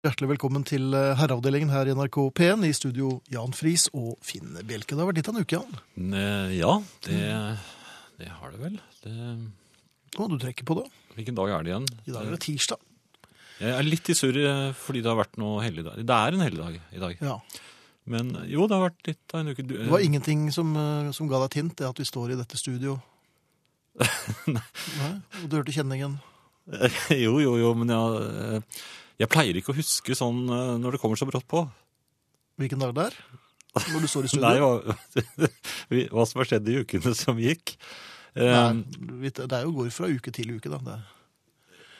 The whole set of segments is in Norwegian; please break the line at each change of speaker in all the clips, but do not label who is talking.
Hjertelig velkommen til eh, herreavdelingen her i NRK P1. I studio Jan Friis og Finn Bjelke. Det har vært litt av en uke, Jan.
Ne- Eh, Ja, det,
Mm.
det har det vel. Det,
Å, du trekker på det.
hvilken dag er det igjen?
I dag er det tirsdag.
Jeg er litt i surr eh, fordi det har vært noe helligdag. Det er en helligdag i dag.
Ja.
Men jo, det har vært litt av en uke. Du-
Det var ingenting som, eh, som ga deg et hint, det at vi står i dette studio. Nei. Og du hørte kjenningen.
eh, jo, jo, jo, men jeg, eh, jeg pleier ikke å huske sånn eh, når det kommer så brått på.
Hvilken dag det er? Når du står i
Nei,
studio?
hva, vi- hva som har skjedd i ukene som gikk. Eh,
Nei, vi- Det er jo går fra uke til uke, da. Det. er-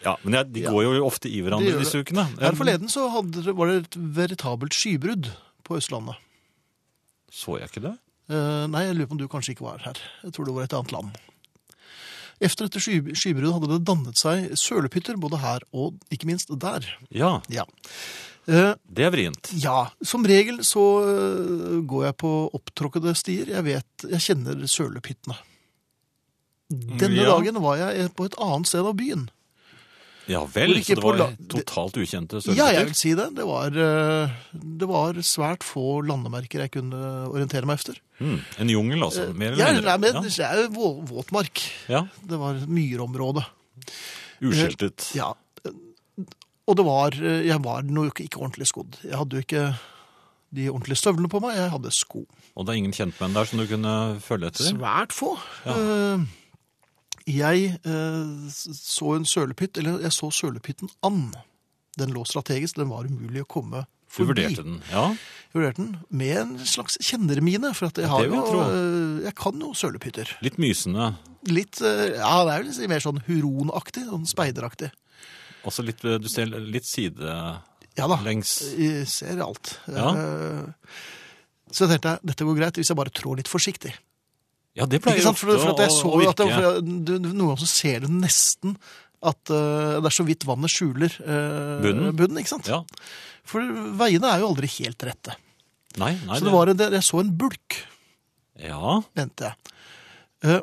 ja, men jeg, de
Ja.
går jo ofte i
Det
hverandre
gjør
disse ukene.
Her forleden så hadde, det- var det et veritabelt skybrudd på Østlandet.
Så jeg ikke det?
Eh, nei, jeg lurer på om du kanskje ikke var her. Jeg tror det var et annet land. Efter dette sky skybruddet hadde det dannet seg sølepytter både her og ikke minst der.
Ja,
Ja. Eh,
det er vrient.
ja, som regel så eh, går jeg på opptråkkede stier. Jeg vet, jeg kjenner sølepyttene. Denne
Ja.
dagen var jeg på et annet sted av byen.
Ja
Hvor
vel,
ikke
så det
på
var
la- det-
totalt ukjente
Ja, jeg
sølvgutter.
vil si det. Det var, eh, det var svært få landemerker jeg kunne orientere meg efter.
Mm, en jungel, altså. Mer
Eh, Ja,
eller mindre.
nei, men det er jo vå- våtmark.
Ja,
Det var myrområdet.
ja. Uskiltet.
Ja. Og det var eh, Jeg var nok ikke ordentlig skodd. Jeg hadde jo ikke de ordentlige støvlene på meg. Jeg hadde sko.
Og det er ingen kjentmenn der som du kunne følge etter?
Svært få.
Ja.
Eh, Jeg eh, så en sølepytt, eller jeg så sølepytten an. Den lå strategisk, den var umulig å komme
Du
forbi.
vurderte den, ja.
Jeg vurderte den med en slags kjennermine, for at jeg, har
det vil
jo,
jeg tro.
eh, jeg kan jo sølepytter.
Litt mysende.
Litt, eh, ja, det er vel si mer sånn huronaktig, sånn speideraktig.
Også litt, eh, du ser litt sidelengs.
Ja da. Jeg ser alt.
Ja.
Eh, Så jeg tenkte jeg, dette går greit hvis jeg bare trår litt forsiktig.
Ja, det pleier
Ikke sant? For,
ofte
for at jeg
å,
så
å
jo
virke.
at det, for du, du- Noen ganger så ser du nesten at eh, det er så vidt vannet skjuler eh,
Bunnen.
ikke sant?
Ja.
For veiene er jo aldri helt rette.
Nei, nei.
så det var, en- jeg så en bulk,
Ja,
mente jeg. Eh,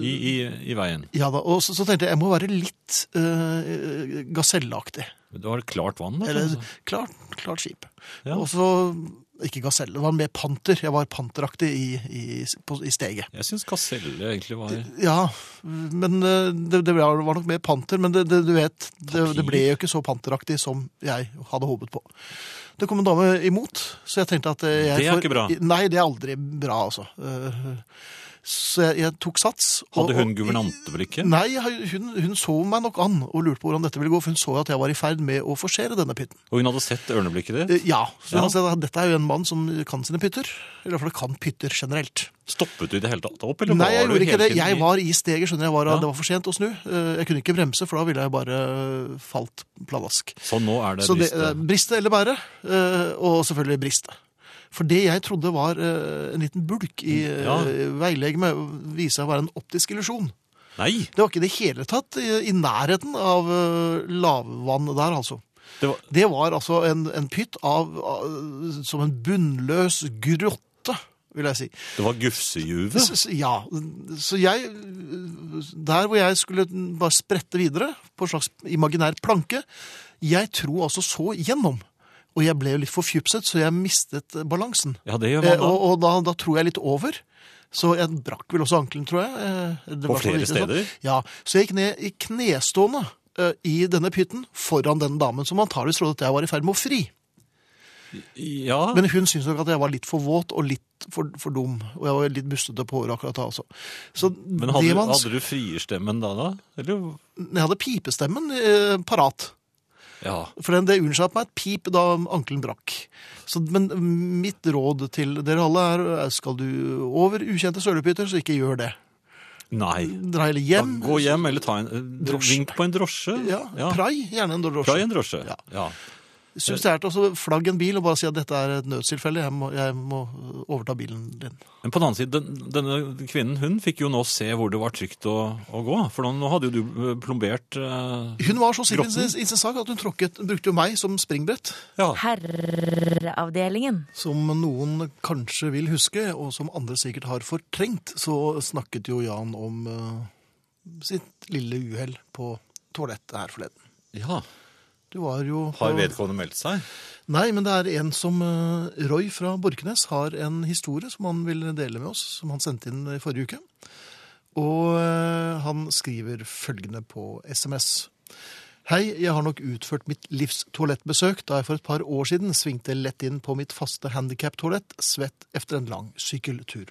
i, i, i veien.
ja da, og så, så tenkte jeg jeg må være litt uh, gasellaktig.
Men Det var klart vann, da.
Eller
kanskje?
klart, klart skip.
Ja.
Og så Ikke gaselle, det var mer panter. Jeg var panteraktig i, i, på, i steget.
Jeg syns gaselle egentlig var
Ja, men eh, det, det var var nok mer panter. Men det, det, du vet, det, det ble jo ikke så panteraktig som jeg hadde håpet på. Det kom en dame imot, så jeg tenkte at eh, jeg
Det er
får-
ikke bra.
Nei, det er aldri bra, altså. Eh, Så jeg, jeg tok sats. og-
Hadde hun
og-
guvernantebrikke?
Nei, hun, hun så meg nok an og lurte på hvordan dette ville gå. For hun så jo at jeg var i ferd med å forsere denne pytten.
Og hun hadde sett ørneblikket ditt?
Eh, Ja. Så
Ja.
altså, dette er jo en mann som kan sine pytter. Eller i hvert fall kan pytter generelt.
Stoppet du i det hele tatt opp? Eller
Nei, jeg
var du
gjorde ikke
hele
det.
tiden
Jeg
i-
var i steget, skjønner jeg. Var,
Ja.
Det var for sent å snu. Eh, Jeg kunne ikke bremse, for da ville jeg bare eh, falt pladask.
Så Sånn, nå er det
Så det,
briste.
eh, briste eller bære, eh, og selvfølgelig briste. For det jeg trodde var eh, en liten bulk i
Ja.
ja. veilegemet, viser seg å være en optisk illusjon.
Nei!
Det var ikke i det hele tatt i, i nærheten av eh, lavvann der, altså.
Det var,
Det var altså en, en pytt av, av, som en bunnløs grotte, vil jeg si.
det var gufsejuve.
S- s- Ja, så jeg Der hvor jeg skulle bare sprette videre på en slags imaginær planke, jeg tror altså så gjennom. Og jeg ble jo litt forfjupset, så jeg mistet balansen.
Ja, det gjør
Eh,
man da.
og og da, da tror jeg litt over. Så jeg brakk vel også ankelen, tror jeg. Eh, det
På
var så
flere
lite sånn.
steder?
Ja, Så jeg gikk ned i knestående eh, i denne pytten foran den damen som antakeligvis trodde at jeg var i ferd med å fri.
Ja,
Men hun syntes nok at jeg var litt for våt og litt for, for dum. Og jeg var litt bustete på håret akkurat da, altså. Så
men hadde,
det
du-
man
hadde du frierstemmen da, da? Eller?
Jeg hadde pipestemmen eh, parat.
Ja.
For den, det unnslapp meg et pip da ankelen brakk. Så, men mitt råd til dere alle er eh, skal du over ukjente sølepytter, så ikke gjør det.
Nei.
Dra heller
Ja,
hjem.
gå hjem, eller ta en eh,
Drosje.
Vink på en drosje.
Ja,
Prai.
Prai, gjerne en drosje.
en drosje.
Ja.
Ja.
Subsidiært også flagg en bil og bare si at dette er et nødstilfelle. Jeg må, jeg må overta bilen din.
Men på den annen side, den, denne kvinnen hun fikk jo nå se hvor det var trygt å, å gå. For nå- nå hadde jo du eh, plombert eh,
Hun var så sikker
Grotten.
i sin sak at hun tråkket, brukte jo meg som springbrett.
Ja.
Herreavdelingen.
Som noen kanskje vil huske, og som andre sikkert har fortrengt, så snakket jo Jan om eh, sitt lille uhell på toalettet her forleden.
ja.
Du Du var jo på-
Har vedkommende meldt seg?
Nei, men det er en som eh, Roy fra Borkenes har en historie som han vil dele med oss, som han sendte inn i forrige uke. Og eh, han skriver følgende på SMS. Hei, jeg har nok utført mitt livs toalettbesøk da jeg for et par år siden svingte lett inn på mitt faste handikaptoalett, svett efter en lang sykkeltur.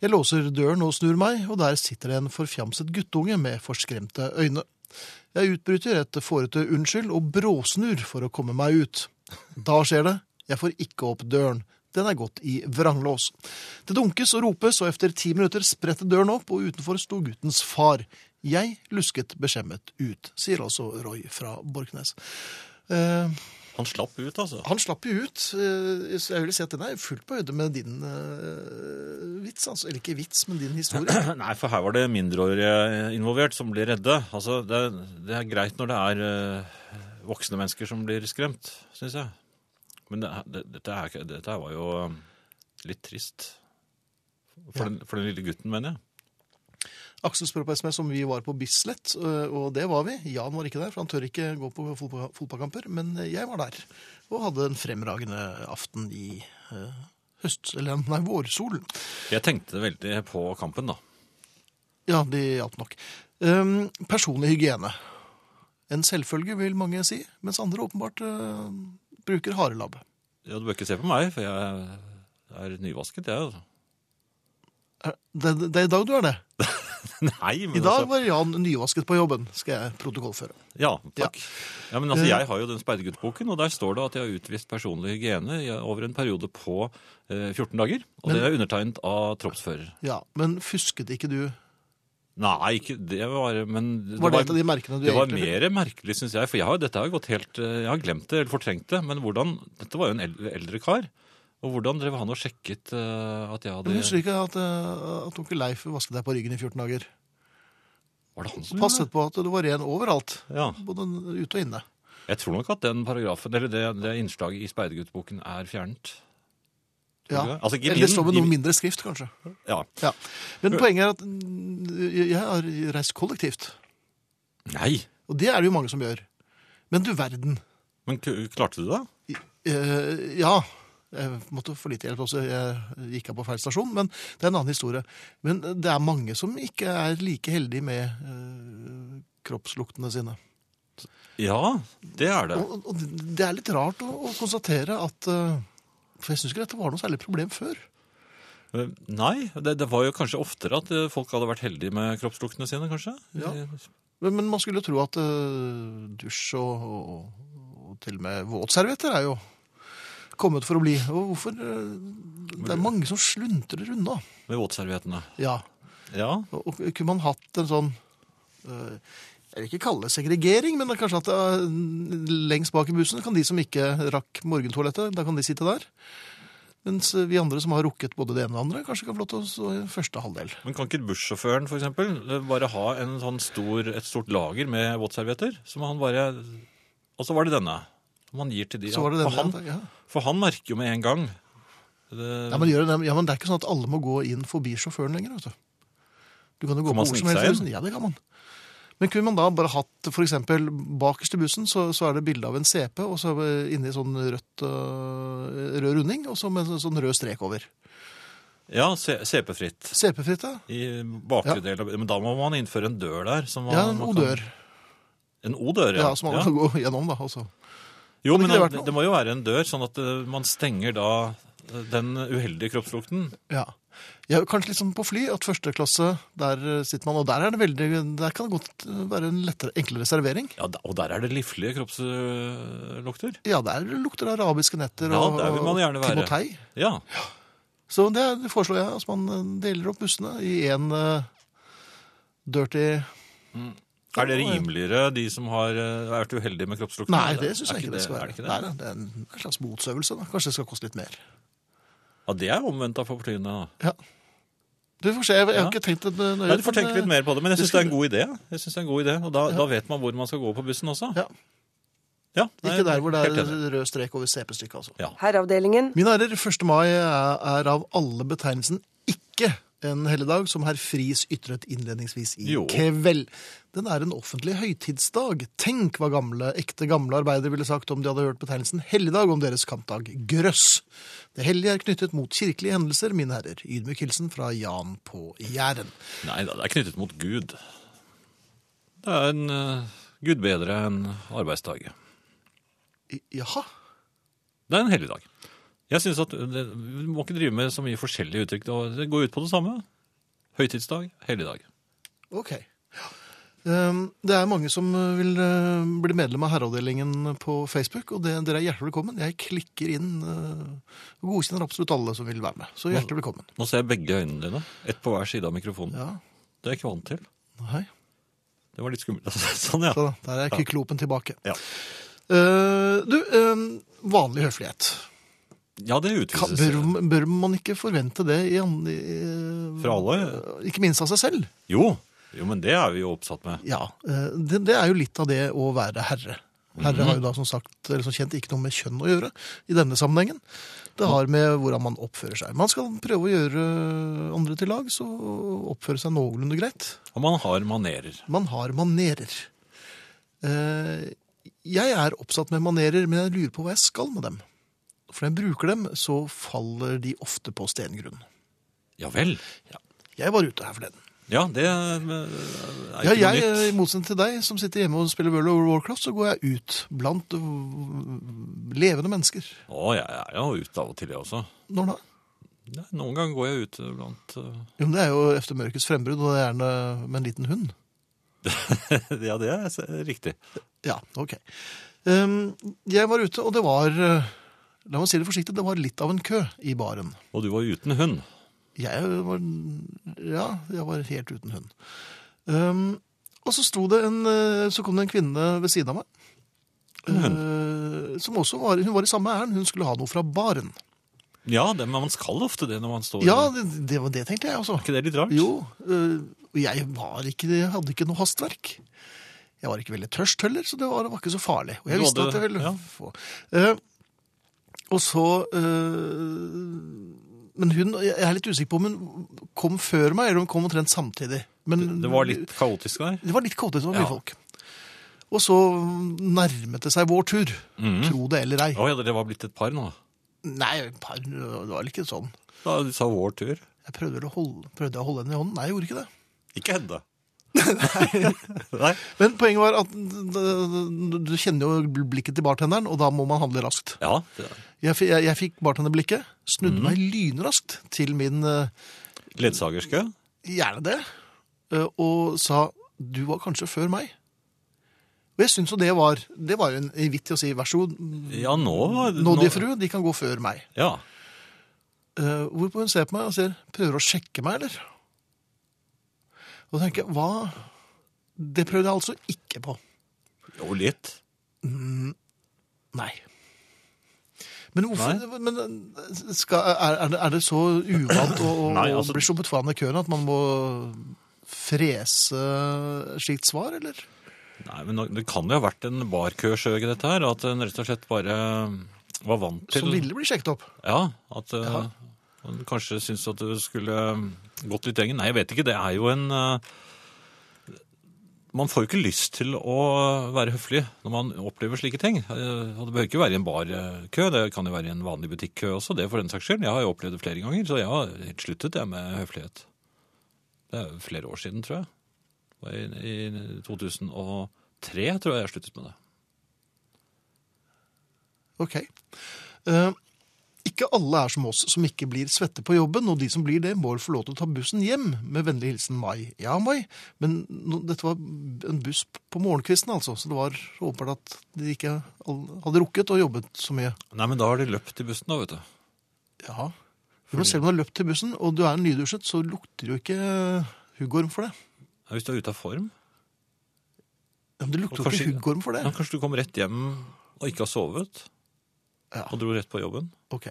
Jeg låser døren og snur meg, og der sitter det en forfjamset guttunge med forskremte øyne. Jeg utbryter et fårete unnskyld og bråsnur for å komme meg ut. Da skjer det. Jeg får ikke opp døren. Den er gått i vranglås. Det dunkes og ropes, og etter ti minutter spretter døren opp, og utenfor sto guttens far. Jeg lusket beskjemmet ut, sier altså Roy fra Borknes. Eh,
Han slapp ut, altså.
han slapp jo ut, eh, så jeg vil si at den er fullt på høyde med din eh, vits, altså. Eller ikke vits, men din historie.
Nei, for her var det mindreårige involvert som blir redde. Altså, det, det er greit når det er eh, voksne mennesker som blir skremt, syns jeg. Men det, er- det, dette, er, ikke- dette her var jo eh, litt trist. For,
Ja.
den, for den lille gutten, mener jeg.
Aksel spør på SMS om vi var på Bislett, eh, og det var vi. Jan var ikke der, for han tør ikke gå på fotball- fotballkamper, men jeg var der. Og hadde en fremragende aften i eh, høst, eller nei, vårsolen.
Jeg tenkte veldig på kampen, da.
Ja, det hjalp nok. Um, personlig hygiene. En selvfølge, vil mange si, mens andre åpenbart eh, bruker harelabb.
Ja, du bør ikke se på meg, for jeg er nyvasket, jeg. altså.
Er- Eh, Det, det er i dag du er det.
Nei, men
I dag
altså
var Jan nyvasket på jobben, skal jeg protokollføre.
Ja, takk. Ja, men altså, Jeg har jo den speiderguttboken, og der står det at jeg har utvist personlig hygiene i- over en periode på eh, 14 dager. Og
Men-
det er undertegnet av troppsfører.
Ja, Men fusket ikke du?
Nei, ikke det var Men
Var det et av de merkene du
det var
egentlig
mer merkelig, syns jeg. For jeg har, dette har gått helt eh, Jeg har glemt det, eller fortrengt det. Men hvordan Dette var jo en eldre, eldre kar. Og hvordan drev han og sjekket eh, at jeg
Men Husker du
hadde
ikke at, eh, at onkel Leif vasket deg på ryggen i 14 dager?
Var det han som
Passet på at du var ren overalt.
det? Ja.
Både ute og inne.
Jeg tror nok at den paragrafen, eller det, det innslaget i speiderguttboken er fjernet. Tror du
Ja.
det? Altså, ikke
Eller
min,
står med
i-
noe mindre skrift, kanskje.
Ja.
Ja. Men poenget er at mm, jeg har reist kollektivt.
Nei,
Og det er det jo mange som gjør. Men du verden.
men k- klarte du det?
Eh, ja, jeg måtte få litt hjelp også. Jeg gikk av på feil stasjon, men det er en annen historie. Men det er mange som ikke er like heldige med eh, kroppsluktene sine.
Ja, det er det.
Og, og det er litt rart å, å konstatere at eh, For jeg syns ikke dette var noe særlig problem før.
Eh, Nei, det, det var jo kanskje oftere at eh, folk hadde vært heldige med kroppsluktene sine, kanskje?
Ja.
Eh,
Men, men man skulle jo tro at eh, dusj og, og, og til og med våtservietter er jo kommet for å bli. Og hvorfor eh, Det er mange som sluntrer unna.
Med våtserviettene.
Ja,
Ja,
Og og kunne man hatt en sånn øh, Jeg vil ikke kalle det segregering, men det er kanskje at øh, lengst bak i bussen kan de som ikke rakk morgentoalettet, da kan de sitte der. Mens vi andre som har rukket både det ene og det andre, kanskje kan få lov til å stå i første halvdel.
Men kan ikke bussjåføren for eksempel eh, bare ha en sånn stor, et stort lager med våtservietter? Som han bare Og så var det denne. Som han gir til de.
Så var det
for,
denne.
han,
Ja.
for han merker jo med en gang det,
Ja, men gjør det, ja, men det er ikke sånn at alle må gå inn forbi sjåføren lenger, vet du. Du kan jo gå på
Kan man
hvor som
snike
helst.
seg
i bussen. Ja, det kan man. Men kunne man da bare hatt for eksempel bakerst i bussen, så, så er det bilde av en CP, og så er det inni sånn rødt, øh, rød runding, og så med en sånn rød strek over.
ja se- CP-fritt.
CP-fritt, ja.
I bakre
Ja.
del av Men da må man innføre en dør der. Som man,
Ja, en
man kan-
odør.
En odør, ja.
Ja, som alle
Ja.
kan gå gjennom, da. altså. Også. Hadde
Jo, men
ikke det
det,
vært noe?
det må jo være en dør, sånn at eh, man stenger da eh, den uheldige kroppslukten.
Ja. Ja, kanskje litt som på fly, at første klasse, der eh, sitter man, og der, er det veldig, der kan det godt eh, være en lettere, enklere servering.
Ja, da- Og der er det livlige kroppslukter.
Ja, der lukter det arabiske netter
Ja,
og,
der vil man gjerne
og
være.
timotei.
Ja.
Så det er- det foreslår jeg, at man eh, deler opp bussene i en eh, dirty
Er det rimeligere, de som har eh, vært uheldige med kroppslukten?
Nei,
Er
det syns
er
jeg ikke det skal
Er
være.
det ikke
Nei,
det?
da, det er en en slags motsøvelse. da. Kanskje det skal koste litt mer.
Ja, det er omvendt av fortrynet. da.
Du får se, jeg, jeg har
Ja.
ikke tenkt det nøye.
Nei, Du får
men,
tenke litt
eh,
mer på det, men jeg
det
syns det er en god idé. Jeg synes det er en god idé, Og da, da vet man hvor man skal gå på bussen også.
Ja.
Ja, nei,
Ikke der hvor det
helt
er
enig.
rød strek over CP-stykket, altså.
Herreavdelingen.
Mine herrer, 1. mai er, er av alle betegnelsen ikke en helligdag som herr Friis ytret innledningsvis i
Jo.
kveld. Den er en offentlig høytidsdag. Tenk hva gamle, ekte gamle arbeidere ville sagt om de hadde hørt betegnelsen helligdag om deres kampdag grøss. Det hellige er knyttet mot kirkelige hendelser, mine herrer. Ydmyk hilsen fra Jan på Jæren.
Nei da, det er knyttet mot Gud. Det er en eh, Gud bedre enn arbeidsdag.
I- Jaha.
Det er en helligdag. Jeg synes at det, Vi må ikke drive med så mye forskjellige uttrykk. Det- Det går ut på det samme. Høytidsdag, helligdag.
Ok. Um, Det er mange som uh, vil uh, bli medlem av herreavdelingen på Facebook, og det, dere er hjertelig velkommen. Jeg klikker inn uh, og godkjenner absolutt alle som vil være med. Så hjertelig velkommen.
Nå ser jeg begge øynene dine. Ett på hver side av mikrofonen.
Ja,
Det er jeg ikke vant til.
hei.
Det var litt skummelt. sånn, ja.
Så da, der er kyklopen tilbake.
Ja.
Uh, Du, um, vanlig høflighet.
Ja, det
Kan,
utvises.
bør, bør man ikke forvente det i, an- i, uh,
Fra alle?
Ikke minst av seg selv.
Jo. jo, men det er vi jo oppsatt med.
Ja, eh, det, det er jo litt av det å være herre. Herre har jo da som sagt, eller som kjent ikke noe med kjønn å gjøre i denne sammenhengen. Det har med hvordan man oppfører seg. Man skal prøve å gjøre andre til lag, så oppføre seg noenlunde greit.
Og man har manerer.
Man har manerer. Eh, Jeg er oppsatt med manerer, men jeg lurer på hva jeg skal med dem. For når jeg bruker dem, så faller de ofte på stengrunn.
Ja vel.
Jeg var ute her forleden.
Ja, det er eh, er
Ja,
ikke
jeg,
noe nytt.
I motsetning til deg som sitter hjemme og spiller World of Warcraft, så går jeg ut blant øh, levende mennesker.
Å, jeg er jo ute av og til, jeg også.
Når da?
Nei, noen ganger går jeg ut blant eh,
Jo, men Det er jo efter mørkets frembrudd, og det er gjerne med en liten hund.
eh, Ja, det er s- riktig.
Ja, ok. Ehm, jeg var ute, og det var øh, La meg si det forsiktig, det var litt av en kø i baren.
Og du var uten hund.
Jeg var Ja, jeg var helt uten hund. Ehm, og så sto det en øh, Så kom det en kvinne ved siden av meg. øh, som også var, Hun var i samme ærend. Hun skulle ha noe fra baren.
Ja, det, men man skal ofte det når man står
Ja,
Er
det, det var det tenkte jeg også.
ikke det litt rart?
Jo, øh, og jeg var ikke, jeg hadde ikke noe hastverk. Jeg var ikke veldig tørst heller, så det var, det var ikke så farlig. Og jeg
Du
visste
hadde-
at jeg ville
ja.
få. Eh, og så... eh, men hun, jeg er litt usikker på om hun kom før meg, eller om hun kom omtrent samtidig. Men
Det var litt kaotisk der.
det var litt kaotisk, det var mye
Ja.
folk. Og så nærmet det seg vår tur,
Mhm.
tro det eller ei.
Å ja, dere var blitt et par nå.
Nei, par, det var vel ikke sånn.
Da du sa vår tur.
Jeg prøvde, vel å holde, prøvde jeg å holde henne i hånden. Nei, jeg gjorde ikke det.
Ikke henne. Nei.
Men poenget var at øh, du kjenner jo blikket til bartenderen, og da må man handle raskt.
Ja, det
Jeg, fi- jeg, jeg fikk bartenderblikket, snudde meg lynraskt til min øh,
Ledsagerske?
gjerne det, øh, og sa du var kanskje før meg. Og jeg syns jo det var Det var jo en en vits i å si vær så god,
Ja, nå var
nådige frue, de kan gå før meg.
Ja.
Eh, hvorpå hun ser på meg og sier prøver du å sjekke meg, eller? Og da tenker jeg hva Det prøvde jeg altså ikke på.
Jo, litt.
Nei. Men hvorfor men eh, skal, er, er det- er det så uvant å, å
Nei, altså-
bli sluppet foran i køen at man må frese slikt svar, eller?
Nei, men nå- Det kan jo ha vært en barkøsjøg i dette her. At en rett og slett bare var vant til
Som ville bli sjekket opp.
Ja, at eh, han kanskje syntes at det skulle eh, gått litt lenger. Nei, jeg vet ikke. Det er jo en eh, Man får jo ikke lyst til å være høflig når man opplever slike ting. Eh, Og det behøver ikke være i en barkø, det kan jo være i en vanlig butikkø også. Det for den saks skyld. Jeg har jo opplevd det flere ganger, så jeg har helt sluttet jeg med høflighet. Det er jo flere år siden, tror jeg. Det var I, I 2003 tror jeg jeg sluttet med det.
Ok. Eh, ikke alle er som oss, som ikke blir svette på jobben, og de som blir det, må få lov til å ta bussen hjem, med vennlig hilsen Mai. Ja, Mai, men nå- dette var en buss på morgenkvisten, altså, så det var åpenbart at de ikke all- hadde rukket og jobbet så mye.
Nei, men da har de løpt i bussen, da, vet du.
Ja. Men selv om du har løpt til bussen, og du er nydusjet, så lukter jo ikke eh, huggorm for det.
Ja, Hvis du er ute av form.
Ja, men det lukter
Og
jo
kanskje-
ikke huggorm for
Ja,
det.
kanskje du kom rett hjem og ikke har sovet,
Ja,
og dro rett på jobben.
ok.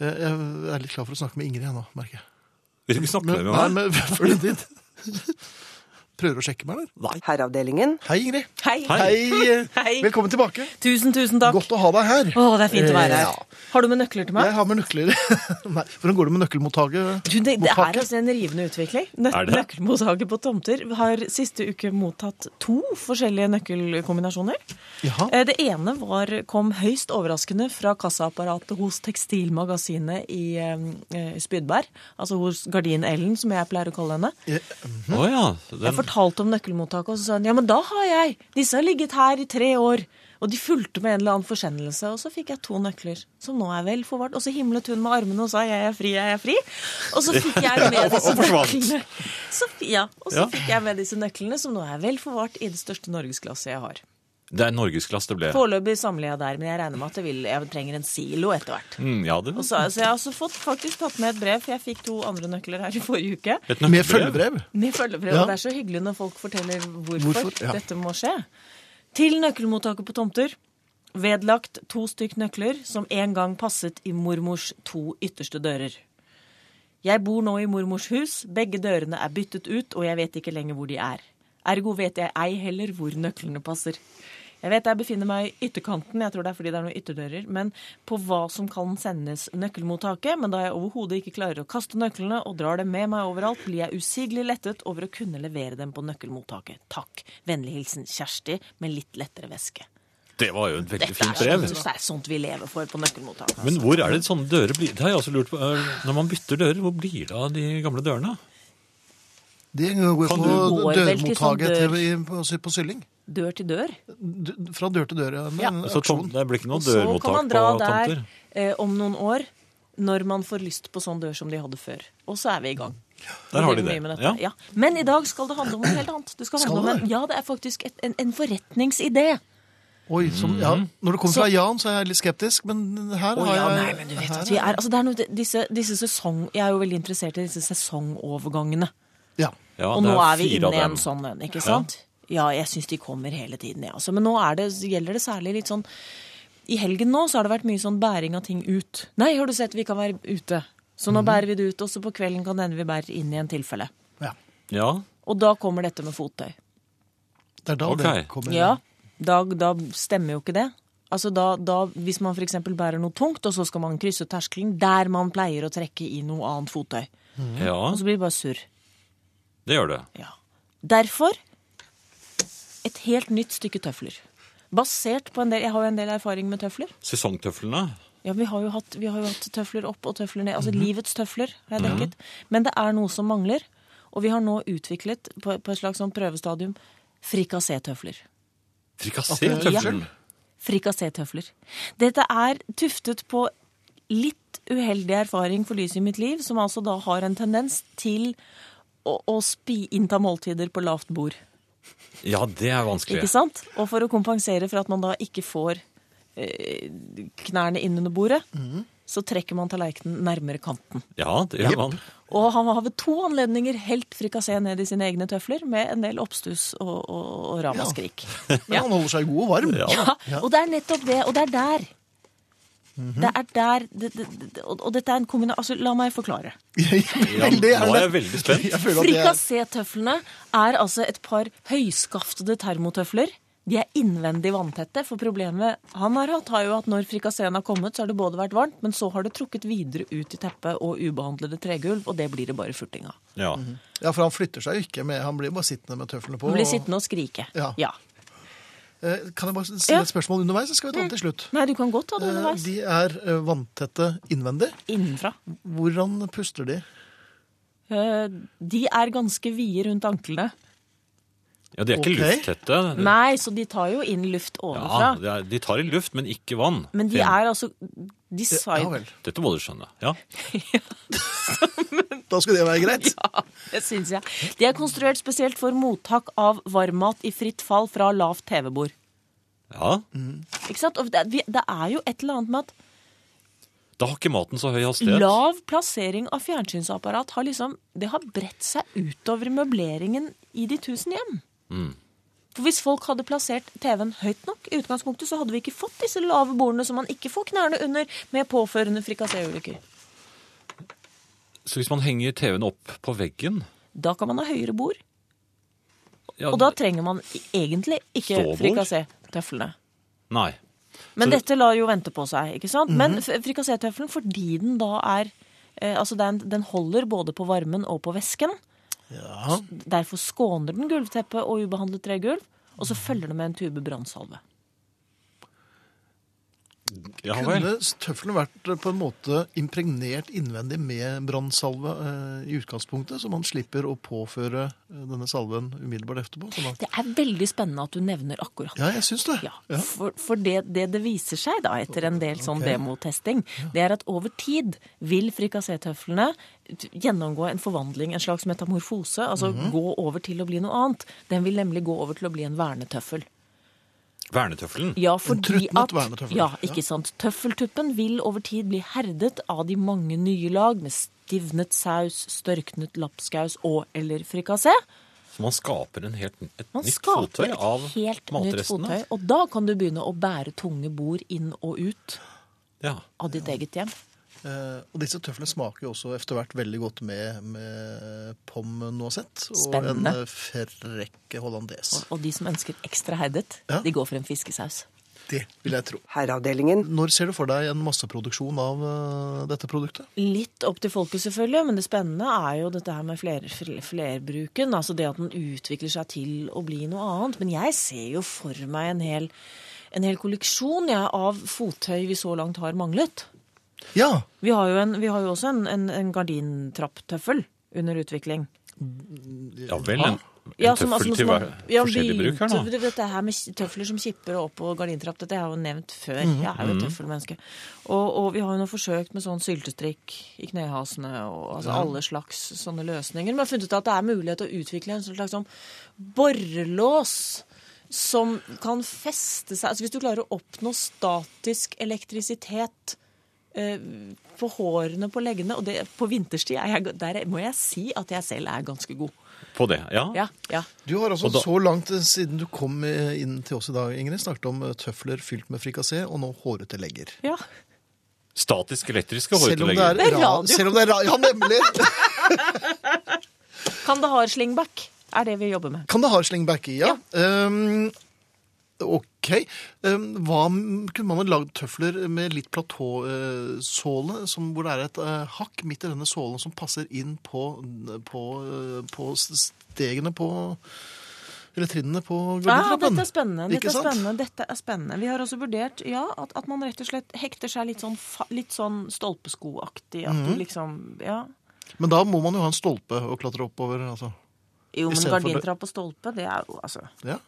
Eh, Jeg er litt klar for å snakke med Ingrid jeg nå, merker jeg.
Vil du ikke snakke
Men,
med
nei,
meg?
men følg dit. Prøver å sjekke meg, eller?
Nei.
Herreavdelingen.
Hei, Ingrid.
Hei.
Hei.
Hei. eh,
Hei.
Velkommen tilbake.
Tusen, tusen takk.
Godt å ha deg her.
Å, det er fint å være her.
Eh, Ja.
Har du med nøkler til meg?
Jeg har med nøkler. Nei, hvordan går det med nøkkelmottaket?
Du, det, det er
Mottaket?
altså en rivende utvikling. Nø
Er det?
Nøkkelmottaket på tomter har siste uke mottatt to forskjellige nøkkelkombinasjoner.
Jaha.
Eh, Det ene var, kom høyst overraskende fra kassaapparatet hos Tekstilmagasinet i eh, Spydberg. Altså hos Gardin Ellen, som jeg pleier å kalle henne.
Å ja. Den,
Jeg fortalte om nøkkelmottaket, og så sa hun ja, men da har jeg. Disse har ligget her i tre år. Og de fulgte med en eller annen forsendelse, og så fikk jeg to nøkler. Som nå er vel forvart. Og så himlet hun med armene og sa 'jeg er fri, jeg er fri'. Og så fikk jeg med disse
og forsvant.
nøklene. Så, ja, og så
Ja.
fikk jeg med disse nøklene, som nå er vel forvart i det største norgesglasset jeg har.
det er norgesklasse det ble.
Foreløpig samler jeg der, men jeg regner med at jeg, vil, jeg trenger en silo etter hvert.
Mm, ja, det
Og så, så jeg har også fått, faktisk tatt med et brev, for jeg fikk to andre nøkler her i forrige uke.
Et
Med
nøkkelbrev.
følgebrev?
Med følgebrev.
Ja.
og Det er så hyggelig når folk forteller hvorfor,
Hvorfor, ja.
dette må skje. Til nøkkelmottaket på tomter. Vedlagt to stykk nøkler som en gang passet i mormors to ytterste dører. Jeg bor nå i mormors hus, begge dørene er byttet ut, og jeg vet ikke lenger hvor de er. Ergo vet jeg ei heller hvor nøklene passer. Jeg vet jeg befinner meg i ytterkanten, jeg tror det er fordi det er noen ytterdører, men på hva som kan sendes nøkkelmottaket, men da jeg overhodet ikke klarer å kaste nøklene og drar dem med meg overalt, blir jeg usigelig lettet over å kunne levere dem på nøkkelmottaket. Takk. Vennlig hilsen Kjersti med litt lettere væske.
Det var jo et veldig
Dette
fint
er
brev.
sånt, det er sånt vi lever for på nøkkelmottaket.
Men hvor er det sånne dører blir? Det har jeg også lurt på. Er- Når man bytter dører, hvor blir det av de gamle dørene?
Det går
Kan
på
du-
Går vel til sånn
dørmottaket til, i- på, på Sylling.
Dør til dør.
D- Fra dør til dør, ja. Med
Ja.
en
Så Altså, tom,
aksjon.
det blir ikke noe
Og så kan
dørmottak
man
på
dra der
tomter?
eh, om noen år, når man får lyst på sånn dør som de hadde før. Og så er vi i gang.
Der har de
driver
det.
mye med dette.
Ja.
Ja. Men i dag skal det handle om noe helt annet. Det skal
Skal
handle om en,
det?
ja, det er faktisk et, en, en forretningsidé.
Oi, som, ja.
Mhm.
Når det kommer fra Jan, så er jeg litt skeptisk, men her
Å
har
ja,
jeg
nei, men du vet
her
at vi er, altså det er noe, disse, disse sesong, Jeg er jo veldig interessert i disse sesongovergangene.
Ja.
Ja,
og
det
nå er vi
fire
inne
av
i en
dem.
sånn en, ikke sant? Ja, jeg syns de kommer hele tiden, jeg altså. Men nå er det, gjelder det særlig litt sånn I helgen nå så har det vært mye sånn bæring av ting ut. Nei, har du sett, vi kan være ute. Så
Mhm.
nå bærer vi det ut, og så på kvelden kan det hende vi bærer inn i en tilfelle.
ja.
Ja,
Og da kommer dette med fottøy.
Det er da
Ok.
det kommer
Ja, da, da stemmer jo ikke det. Altså da, da, Hvis man f.eks. bærer noe tungt, og så skal man krysse terskelen der man pleier å trekke i noe annet fottøy,
ja,
og så blir det bare surr.
det gjør det.
Ja. Derfor et helt nytt stykke tøfler. Basert på en del Jeg har jo en del erfaring med tøfler.
Sesongtøflene.
Ja, vi har jo hatt, vi har jo hatt tøfler opp og tøfler ned. Altså livets tøfler har jeg dekket. Men det er noe som mangler. Og vi har nå utviklet, på, på et slags sånn prøvestadium, frikassé-tøfler.
Frikassé-tøflen.
Frikassé-tøfler. Dette er tuftet på litt uheldig erfaring for lyset i mitt liv, som altså da har en tendens til å, å spi, innta måltider på lavt bord.
Ja, det er
Ikke
vanskelig.
sant? Og for å kompensere for at man da ikke får eh, knærne inn under bordet, så trekker man tallerkenen nærmere kanten.
Ja, det gjør man.
Og han har ved to anledninger helt frikassé ned i sine egne tøfler med en del oppstuss og, og, og ramaskrik.
Men han holder seg god og varm.
Ja.
Ja, Mhm. og det er nettopp det, og det er der. Det er der det, det, det, og, og dette er en kombina... Altså, la meg forklare.
Ja,
Veldig
nå er
gjerne.
jeg veldig spent.
Jeg føler at jeg
Frikassé-tøflene er altså et par høyskaftede termotøfler. De er innvendig vanntette, for problemet han har hatt, har jo at når frikasseen har kommet, så har det både vært varmt, men så har det trukket videre ut i teppet og ubehandlede tregulv, og det blir det bare furting av.
Ja.
Ja, for han flytter seg jo ikke med, han blir bare sittende med tøflene på.
Man blir
og-
sittende og skrike.
Ja.
ja.
Eh, Kan jeg bare stille
Ja.
et spørsmål underveis, så skal vi ta det til slutt.
Nei, du kan godt ta det
Eh,
underveis.
De er eh, vanntette innvendig.
Innenfra.
Hvordan puster de?
Eh, De er ganske vide rundt anklene.
ja, de er ikke
Ok.
lufttette.
Nei, så de tar jo inn luft
Ja,
ovenfra.
det er, de tar i luft, men ikke vann.
Men de
Finn.
er altså
Ja
design...
vel.
Dette må du skjønne. Ja.
Da skal det være greit.
Det syns jeg. De er konstruert spesielt for mottak av varmmat i fritt fall fra lavt TV-bord.
ja.
Ikke sant? Og det, vi- det er jo et eller annet med at
Da har ikke maten så høy hastighet.
lav plassering av fjernsynsapparat har liksom Det har bredt seg utover møbleringen i de tusen hjem. For hvis folk hadde plassert TV-en høyt nok, i utgangspunktet, så hadde vi ikke fått disse lave bordene som man ikke får knærne under med påførende frikasséulykker.
Så hvis man henger TV-en opp på veggen
Da kan man ha høyere bord,
ja,
og da trenger man e- egentlig ikke
Ståbord?
frikassé-tøflene.
Nei.
Men
Så-
dette lar jo vente på seg, ikke sant? Men f- frikassettøffelen, fordi den da er eh, Altså, den, den holder både på varmen og på væsken.
Ja.
Derfor skåner den gulvteppet og ubehandlet tregulv. Og så følger det med en tube brannsalve.
Ja vel.
Kunne tøflene vært eh, på en måte impregnert innvendig med brannsalve eh, i utgangspunktet, så man slipper å påføre eh, denne salven umiddelbart etterpå? Så man...
Det er veldig spennende at du nevner akkurat
Ja, jeg syns det.
Ja,
Ja.
for, for det, det det viser seg da etter en del sånn demotesting, det er at over tid vil frikassettøflene t- gjennomgå en forvandling, en slags metamorfose, altså gå over til å bli noe annet. Den vil nemlig gå over til å bli en vernetøffel.
Vernetøffelen.
Ja, fordi
truttnott
at,
vernetøffel.
ja,
Ja.
ikke sant. Tøffeltuppen vil over tid bli herdet av de mange nye lag med stivnet saus, størknet lapskaus og eller frikassé.
Så man skaper en helt, et
Man
nytt
skaper
fottøy
et
av altså.
helt nytt
matrestene.
fottøy, og da kan du begynne å bære tunge bord inn og ut.
Ja.
av ditt eget hjem.
Eh, og disse tøflene smaker jo også etter hvert veldig godt med, med pommes noisette og
Spennende.
en eh, frekk hollandes.
Og de som ønsker ekstra herdet,
Ja.
de går for en fiskesaus.
Det vil jeg tro.
Herreavdelingen.
Når ser du for deg en masseproduksjon av eh, dette produktet?
Litt opp til folket, selvfølgelig, men det spennende er jo dette her med fler, fl- flerbruken. Altså det at den utvikler seg til å bli noe annet. Men jeg ser jo for meg en hel, en hel kolleksjon jeg, av fottøy vi så langt har manglet.
Ja,
Vi har jo, en, vi har jo også en, en, en gardintrapptøffel under utvikling.
ja vel, en, en
Ja, som-
tøffel
altså noe
til
som
hver
man- ja,
forskjellig bruk her nå.
bit- Dette her med tøfler som kipper og opp og gardintrapp, dette har jeg jo nevnt før.
Mhm.
Jeg er jo et tøffelmenneske. Og, og vi har jo nå forsøkt med sånn syltestrikk i knehasene og altså alle slags sånne løsninger. Men jeg har funnet ut at det er mulighet til å utvikle en slags sånn borrelås. Som kan feste seg altså Hvis du klarer å oppnå statisk elektrisitet eh, på hårene på leggene Og det, på vinterstid er jeg, der må jeg si at jeg selv er ganske god.
På det, ja.
Ja, ja.
Du har altså
Og da-
så langt eh, siden du kom eh, inn til oss i dag, Ingrid, snakket om eh, tøfler fylt med frikassé og nå hårete legger.
ja.
Statisk elektriske
Selv om det er,
hårtillegger.
Det er
ra-
radio.
Selv om det er ra ja, nemlig.
Kandahar-slingback er det vi jobber med.
Kan det ha slingback i, ja. Um, ok. Um, hva m- kunne man ha lagd tøfler med litt platåsåle, som- hvor det er et eh, hakk midt i denne sålen som passer inn på, på, eh, på s- stegene på eller trinnene på
Ah,
gulvetrappen.
dette er spennende. Dette
Ikke
er
sant?
spennende. dette er spennende. Vi har også vurdert ja, at, at man rett og slett hekter seg litt sånn, fa- litt sånn stolpeskoaktig. At
Mhm.
du liksom Ja.
Men da må man jo ha en stolpe å klatre oppover. Altså.
Jo,
I
men
stedet for det-
gardintrapp og stolpe, det er jo altså
Ja.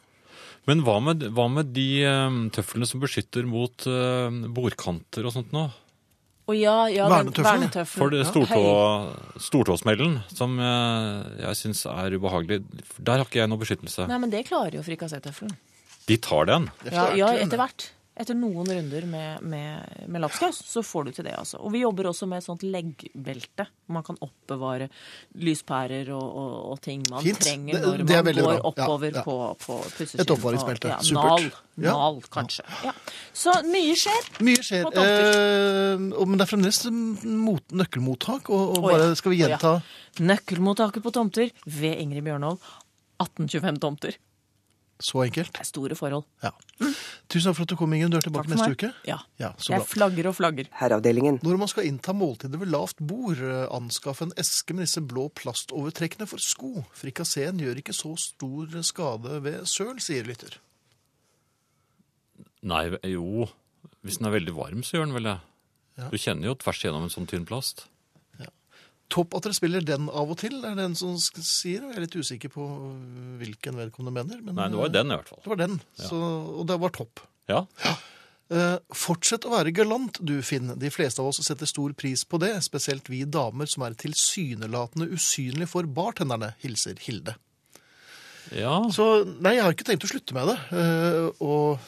Men hva med, hva med de eh, tøflene som beskytter mot eh, bordkanter og sånt nå?
Å ja, ja,
den Vernetøffelen, ja.
For det stortå, stortåsmellen, som eh, jeg syns er ubehagelig, der har ikke jeg noe beskyttelse.
Nei, men det klarer jo frikassettøffelen.
De tar den.
Ja,
Etter hvert,
ja,
ja.
etter hvert. Etter noen runder med, med, med lapskaus, så får du til det, altså. Og vi jobber også med et sånt leggbelte. Man kan oppbevare lyspærer og, og, og ting man
Fint.
trenger
Det-
når
det er
man
veldig
går
bra. Ja,
oppover
ja.
på, på pusseskinn.
Et oppbevaringsbelte.
og- Ja,
Supert.
nal,
Ja.
nal, kanskje. Ja. Så mye skjer.
Mye skjer.
Og tomter.
Eh, og- men det er fremdeles mot, nøkkelmottak, og, og
Å, ja.
bare skal vi
Å, ja.
gjenta
Nøkkelmottaket på tomter ved Ingrid Bjørnholm. 1825 tomter.
så enkelt.
Det er store forhold.
Ja. Tusen takk for at du kom, Ingen. Du er tilbake
Mm. Takk for
neste
meg.
uke.
Ja.
Ja, så
Jeg
bra.
flagger og flagger.
Herreavdelingen.
Når man skal innta måltider ved lavt bord, eh, anskaff en eske med disse blå plastovertrekkene for sko. Frikasseen gjør ikke så stor skade ved søl, sier lytter.
Nei, jo. Hvis den er veldig varm, så gjør den vel det.
Ja.
Du kjenner jo tvers igjennom en sånn tynn plast.
Topp at dere spiller den av og til, er det en som sk- sier. Jeg er litt usikker på hvilken vedkommende mener. Men
Nei, det var jo den i hvert
Det
fall.
var den, så, og det var topp.
Ja.
Eh, fortsett å være galant, du Finn. De fleste av oss setter stor pris på det, spesielt vi damer som er tilsynelatende usynlige for bartenderne, hilser Hilde.
ja.
Så nei, jeg har ikke tenkt å slutte med det. eh, og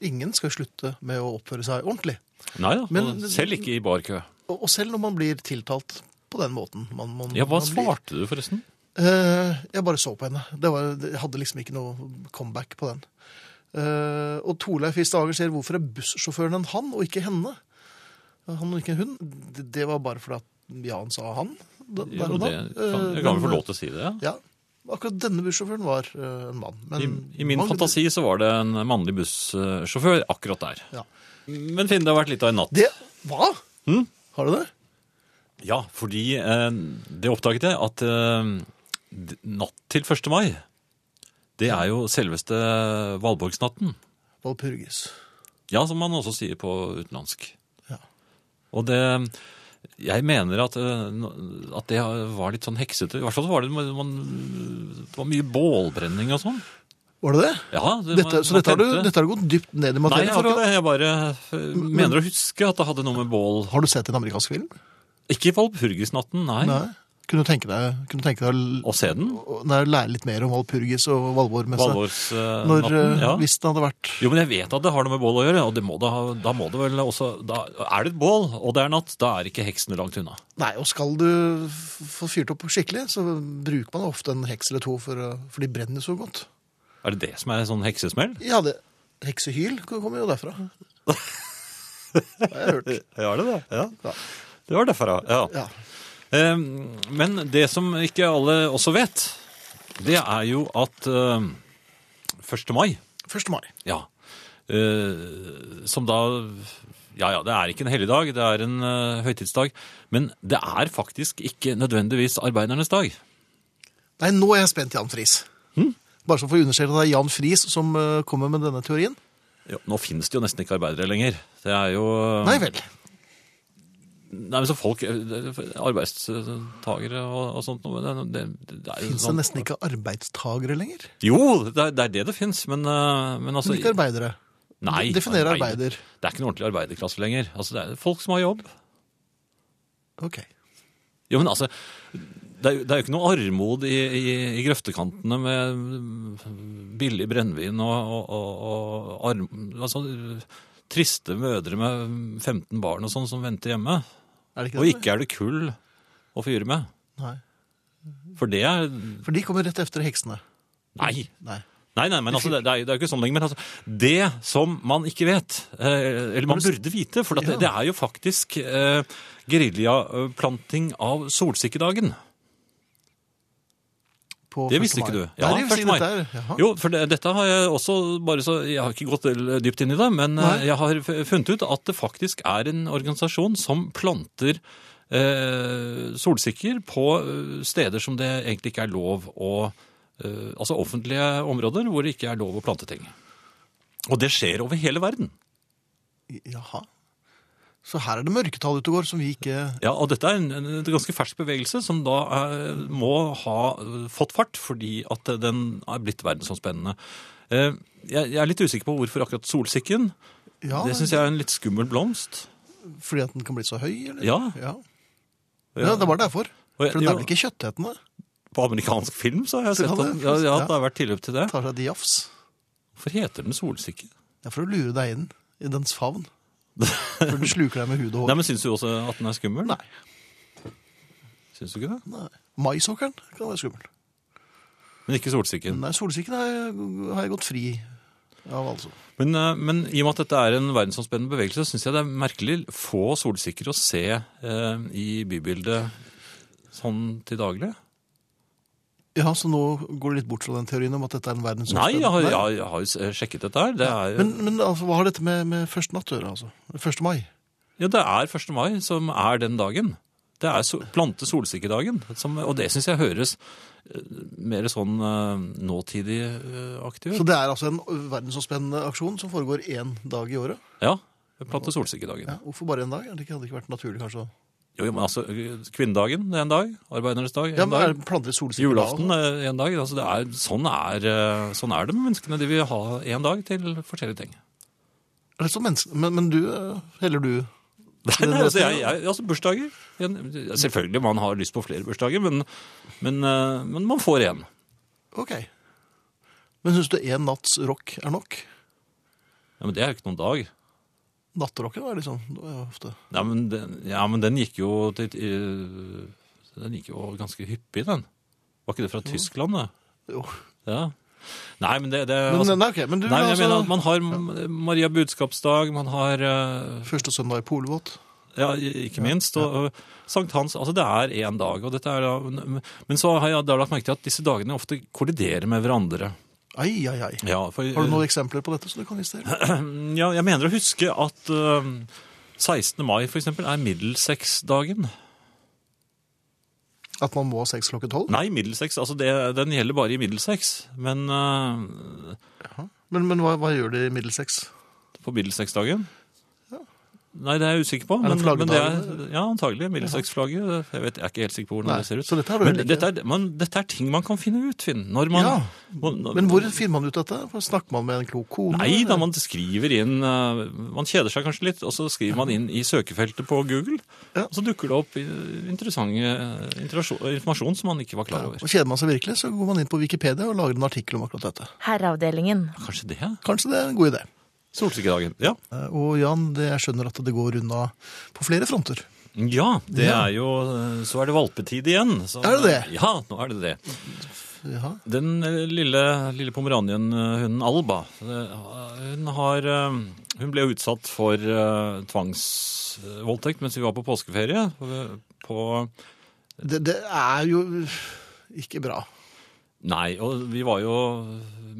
ingen skal slutte med å oppføre seg ordentlig.
Nei da.
Men-
Selv ikke i barkø.
Og, og selv når man blir tiltalt på den måten. Man, man,
Ja, hva
man blir-
svarte du, forresten?
Eh, jeg bare så på henne. Det var, jeg hadde liksom ikke noe comeback på den. Eh, og Torleif Hvistager sier hvorfor er bussjåføren en han og ikke henne? Han og ikke en hun. Det, det var bare fordi at Jan sa han. da- Der
Jo,
og da.
det kan,
Eh,
jeg kan vel
men-
få lov til å si det? ja.
Ja. Akkurat denne bussjåføren var eh, en mann. men
I, I min
mange-
fantasi så var det en mannlig bussjåfør akkurat der.
Ja.
Men Finn, det har vært litt av en natt.
Det Hva?
Hm?
Har du det?
Ja, fordi eh, det oppdaget jeg at eh, d- natt til 1. mai, det er jo selveste Valborgsnatten.
Valpurgis.
Ja, som man også sier på utenlandsk.
Ja.
Og det Jeg mener at, eh, nå- at det var litt sånn heksete. I hvert fall så var det, man, det var mye bålbrenning og sånn.
Var det det?
Ja, det-
Dette,
man-
så
man
dette har, du,
tente-
dette har du gått dypt ned i
Nei,
materien
jeg
for
har
å Mm,
ikke det. Jeg bare eh, mener å huske at det hadde noe med bål
Har du sett en amerikansk film?
Ikke Valpurgisnatten, nei. nei.
Kunne du tenke deg, kunne du tenke deg å,
Og se den.
å- nei, lære litt mer om Valpurgis og Valvormessa? Altså, Når,
Valborgsnatten.
eh,
ja.
Hvis det hadde vært
Jo, men jeg vet at det har noe med bål å gjøre, og det må det, ha- da må det vel også da, Er det et bål, og det er natt, da er ikke heksene langt unna.
Nei, og skal du f- få fyrt opp skikkelig, så bruker man ofte en heks eller to, for, å- for de brenner så godt.
Er det det som er sånn heksesmell?
Ja, det, heksehyl kommer jo derfra. Det har jeg hørt.
Ja, er det det?
Ja.
Det var derfor, ja.
Ja.
Eh, Men det som ikke alle også vet, det er jo at eh, 1. mai
1. mai.
Ja. Eh, som da Ja ja, det er ikke en helligdag, det er en eh, høytidsdag. Men det er faktisk ikke nødvendigvis arbeidernes dag.
Nei, nå er jeg spent, Jan Friis.
Hm?
Bare så for å understreke at det er Jan Friis som eh, kommer med denne teorien.
Jo, nå finnes det jo nesten ikke arbeidere lenger. Det er jo
Nei vel.
Nei, men så folk eh, Arbeidstagere og, og sånt noe. Det, det, det er jo
Fins det
sånn-
nesten ikke arbeidstagere lenger?
Jo, det er det er det, det fins, men, eh, men altså
Men ikke arbeidere.
Nei.
Definere arbeider.
Det er ikke noen ordentlig arbeiderklasse lenger. Altså, det er folk som har jobb.
Ok.
Jo, men altså, det er, jo- det er jo ikke noe armod i, i, i grøftekantene med billig brennevin og, og, og, og arm, altså, triste mødre med 15 barn og sånn som venter hjemme.
Er det ikke
Og
det?
ikke er det kull å fyre med.
Nei.
For det er
For de kommer rett etter heksene.
Nei!
Nei.
Nei, nei, men altså, det, det er, jo- det er jo ikke sånn lenger. Men altså, det som man ikke vet, eh, eller man burde vite, for at det, det er jo faktisk eh, geriljaplanting av solsikkedagen.
På
Det
1.
visste ikke
mai.
du.
Nei,
Ja,
det
1.
visste
mai.
ikke dette her. Jaha.
Jo, for det, dette har jeg også bare så Jeg har ikke gått del- dypt inn i det, men eh,
Nei.
jeg har f- funnet ut at det faktisk er en organisasjon som planter eh, solsikker på eh, steder som det egentlig ikke er lov å eh, Altså offentlige områder hvor det ikke er lov å plante ting. Og det skjer over hele verden.
Jaha. Så her er det mørketall ute og går som vi ikke
Ja, og dette er en, en en ganske fersk bevegelse som da eh, må ha eh, fått fart, fordi at den er blitt verdensomspennende. Eh, jeg, jeg er litt usikker på hvorfor akkurat solsikken.
Ja,
det syns jeg er en litt skummel blomst.
Fordi at den kan bli så høy, eller?
Ja.
ja. Ja, det var derfor.
Og jeg-
For den er
jo,
vel ikke kjøttetende?
På amerikansk film så har jeg
Det
sett
kan
at
det.
ja, ja,
Ja.
det har vært tilløp til det.
Tar seg et jafs.
Hvorfor heter den solsikke?
Det er for å lure deg inn i dens favn. For den sluker deg med hud og
Nei,
hår.
men Syns du også at den er skummel?
Nei.
Syns du ikke det?
Nei. Maisåkeren kan være skummel.
Men ikke solsikken.
Nei, solsikken har jeg- har jeg gått fri av, altså.
Men, eh, men i og med at dette er en verdensomspennende bevegelse, syns jeg det er merkelig få solsikker å se eh, i bybildet sånn til daglig.
Ja, Så nå går det litt bort fra den teorien om at dette er en verdens
Nei, jeg har, jeg, har- jeg har jo s- sjekket dette her. Det er,
Men, men altså, hva har dette med, med første natt å gjøre, altså? 1. mai?
ja, det er 1. mai som er den dagen. Det er so plante solsikkedagen. Som, og det syns jeg høres eh, mer sånn eh, nåtidig eh, aktig
Så
ut.
det er altså en verdensomspennende aksjon som foregår én dag i året?
Ja. Plante solsikkedagen.
Ja, hvorfor bare én dag? Er det ikke- Hadde det ikke vært naturlig, kanskje? å-
Jo, jo, men altså, eh, kvinnedagen det er en dag. Arbeidernes dag
Ja,
en
men er
dag.
det planter i solsikker da,
Julaften
altså?
eh, en dag. Altså, det er, sånn, er, eh, sånn er det med menneskene. De vil ha én dag til forskjellige ting.
Er det sånn menneske- men, men du eh, heller du
Nei, nei, altså, jeg, jeg, altså bursdager. Jeg- Selvfølgelig man har lyst på flere bursdager, men, men, eh, men man får én.
Ok. Men syns du én natts rock er nok?
Ja, men det er jo ikke noen dag.
Natterocken er liksom det er ofte
Nei, men den, ja, men den gikk jo til, eh, Den gikk jo ganske hyppig, den. Var ikke det fra Tyskland, det?
Jo.
Ja. Nei, men det, det
Men,
altså,
nei, ok, men du
Nei, men
vil
jeg mener at
altså
man har M- Maria budskapsdag, man har eh,
Første søndag i polvåt.
Ja, ikke minst. Og, og sankthans altså det er én dag. Og dette er, da- men- men så har jeg da lagt merke til at disse dagene ofte kolliderer med hverandre.
Ai, ai, ai.
Ja, for,
Har du noen eksempler på dette som du kan vise til?
ja, jeg mener å huske at eh, 16. mai for eksempel er middelsexdagen.
At man må ha sex klokken tolv?
Nei, middelseks. Altså det, den gjelder bare i middelseks. Men eh,
Men, men hva, hva gjør de i middelseks?
på middelsexdagen Nei, det er jeg usikker på.
Er det
men, men det er,
flaggdagen?
ja, antagelig. Middelsexflagget. Jeg, vet- jeg er ikke helt sikker på hvordan
Nei,
det ser ut.
så dette er du
men
heller ikke.
dette er, man, dette er ting man kan finne ut, Finn. Når man,
Ja,
man-
Men hvor finner man ut dette? Snakker man med en klok kone?
Nei da, man skriver inn eh, Man kjeder seg kanskje litt, og så skriver man inn i søkefeltet på Google.
Ja.
Og så dukker det opp eh, interessant eh, interasjon- informasjon som man ikke var klar over.
Og kjeder man seg virkelig, så går man inn på Wikipedia og lager en artikkel om akkurat dette.
Herreavdelingen.
Kanskje det?
Kanskje det er en god idé.
Solsikkedagen. Ja.
Eh, Og Jan, det, jeg skjønner at det går unna på flere fronter.
ja, det
Ja.
er jo eh, Så er det valpetid igjen. Så,
Er det det?
Ja, nå er det det.
Ja.
Den eh, lille, lille pomeranien-hunden Alba, eh, hun, har, eh, hun ble utsatt for eh, tvangsvoldtekt mens vi var på påskeferie. eh, På,
Det, det er jo ikke bra.
nei, og vi var jo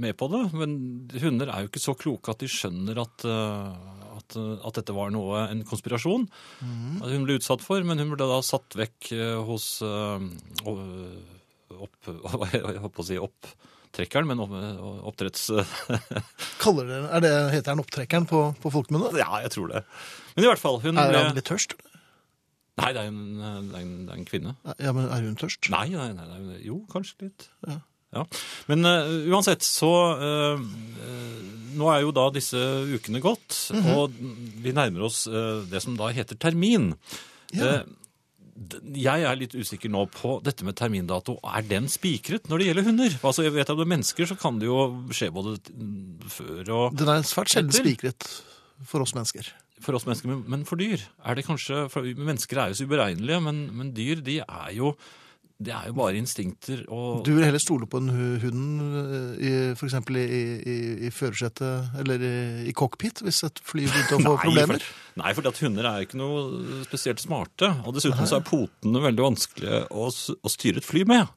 med på det, men hunder er jo ikke så kloke at de skjønner at, eh, at, eh, at dette var noe, en konspirasjon.
Mhm.
At Hun ble utsatt for, men hun ble da satt vekk eh, hos eh, o- opp, Jeg holdt på å si opptrekkeren, men opp- eh, oppdretts...
Kaller det, er det, heter den opptrekkeren på, på folkemunne?
Ja, jeg tror det. Men i hvert fall, hun
Er han
ble-
litt tørst?
Nei, det er en, eh, det er en, det er en kvinne.
Ja, men er hun tørst?
Nei, nei, nei, nei, jo, kanskje litt.
Ja.
Men eh, uansett, så eh, eh, Nå er jo da disse ukene gått,
Mhm.
og vi nærmer oss eh, det som da heter termin. Eh, d- jeg er litt usikker nå på dette med termindato. Er den spikret når det gjelder hunder? Altså, jeg vet at Med mennesker så kan det jo skje både t- mm, før og
Den er svært sjelden
Etter?
spikret for oss mennesker.
for oss mennesker, men- men for dyr er det kanskje for Mennesker er jo så uberegnelige, men, men dyr de er jo det er jo bare instinkter og
Du vil heller stole på en hu- hund eh, i, for eksempel i, i, i førersetet, eller i, i cockpit, hvis et fly begynte å få problemer?
For, nei, fordi at hunder er ikke noe spesielt smarte. Og dessuten så er potene veldig vanskelige å, s- å styre et fly med.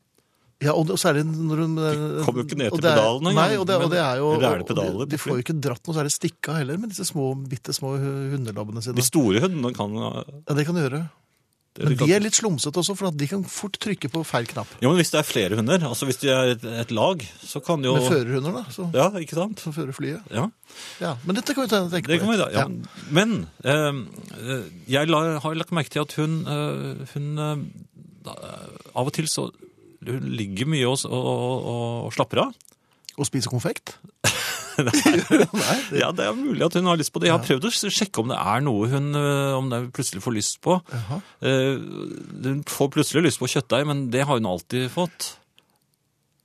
Ja, og det- og særlig når hun... De
kommer jo ikke ned til pedalen engang,
Nei, og det, og det er jo...
men- eller er
og
det
de-
pedaler på
De får jo ikke dratt noe særlig stikka heller med disse små, bittesmå hu- hundelabbene sine.
De store hundene kan eh,
Ja, det kan de gjøre. Men de er litt slumset også, for at de kan fort trykke på feil knapp.
Jo, men hvis det er flere hunder, altså hvis de er et, et lag, så kan jo
Med førerhunder da, så,
Ja, ikke sant?
som fører flyet.
Ja.
Ja, men dette kan vi ta- tenke på.
Det kan vi da,
litt.
ja. Men eh, eh, jeg la, har lagt merke til at hun, eh, hun eh, da, eh, av og til så hun ligger mye og, s- og, og, og slapper av.
Og spise konfekt. Nei, det,
Ja, Det er mulig at hun har lyst på det. Jeg har prøvd å s- sjekke om det er noe hun eh, om det plutselig får lyst på.
Jaha.
Eh, hun får plutselig lyst på kjøttdeig, men det har hun alltid fått.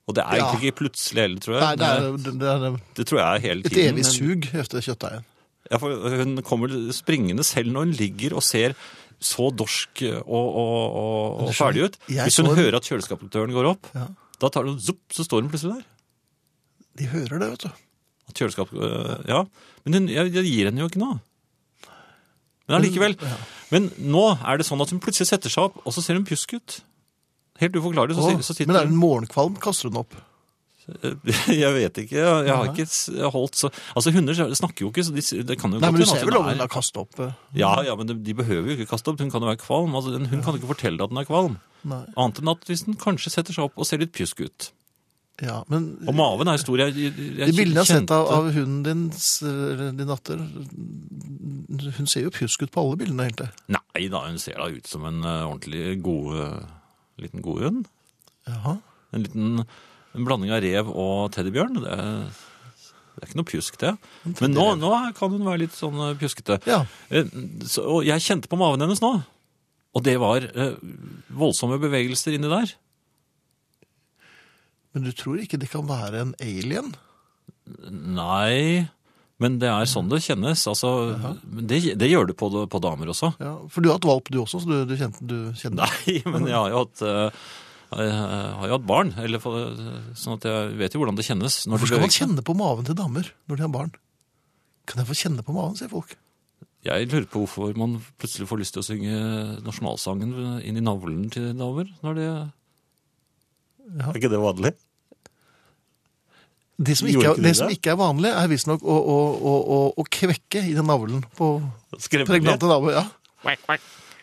Og det er
Ja.
egentlig ikke plutselig heller, tror jeg. eh,
Nei, det er, det det er
Det tror jeg er hele
et
tiden.
evig
men-
sug etter kjøttdeigen.
Ja, for hun kommer springende selv når hun ligger og ser så dorsk og, og, og, og ferdig ut.
jeg
Hvis hun
så en-
hører at kjøleskapsdøren går opp,
Ja.
da tar hun zopp, så står hun plutselig der.
De hører det, vet du.
At kjøleskap, øh, ja. Men hun, jeg, jeg gir henne jo ikke noe. Men allikevel. Men nå er det sånn at hun plutselig setter seg opp, og så ser hun pjusk ut. Helt uforklarlig. Så,
Å,
si- så sitter øh,
men er det en morgenkvalm, kaster hun opp.
Jeg vet ikke. Jeg, jeg har ikke s- holdt så Altså, hunder snakker jo ikke, så de, s- det kan jo
Nei, men du
hende at
ser
hun
vel om
er-
hun har kastet opp. eh,
Ja, ja, men de, de behøver jo ikke kaste opp. Hun kan jo være kvalm. Altså, den- hun kan jo ikke fortelle at den er kvalm.
Nei.
Annet enn at hvis den kanskje setter seg opp og ser litt pjusk ut.
Ja, men
Og maven er stor. Jeg, jeg,
de
jeg
bildene jeg har sett
kjente-
av, av hunden din, s- eller din datter, hun ser jo pjusk ut på alle bildene, helt det.
Nei da, hun ser da ut som en eh, ordentlig god, eh, liten god hund.
Jaha.
En liten en blanding av rev og teddybjørn. Det er, det er ikke noe pjusk, det. Men nå, nå kan hun være litt sånn eh, pjuskete.
Ja,
Eh, Så, og jeg kjente på maven hennes nå. Og det var eh, voldsomme bevegelser inni der.
men du tror ikke det kan være en alien?
Nei, men det er sånn det kjennes. Altså, men det, det gjør det på, på damer også.
Ja, for du har hatt valp du også, så du, du kjente, du kjente.
Nei, men jeg har jo hatt, eh, jeg eh, har jo hatt barn, eller, for- sånn at jeg vet jo hvordan det kjennes. Når
Hvorfor
det
skal man kjenne på maven til damer når de har barn? Kan jeg få kjenne på maven, sier folk.
Jeg lurer på hvorfor man plutselig får lyst til å synge nasjonalsangen inn i navlen til damer. Når det
Er ikke det vanlig?
Det som
Gjorde ikke
ikke, er,
de
det som
det?
ikke er vanlig, er visstnok å, å, å, å, å kvekke i den navlen på
Skremmelig.
pregnante damer. Ja.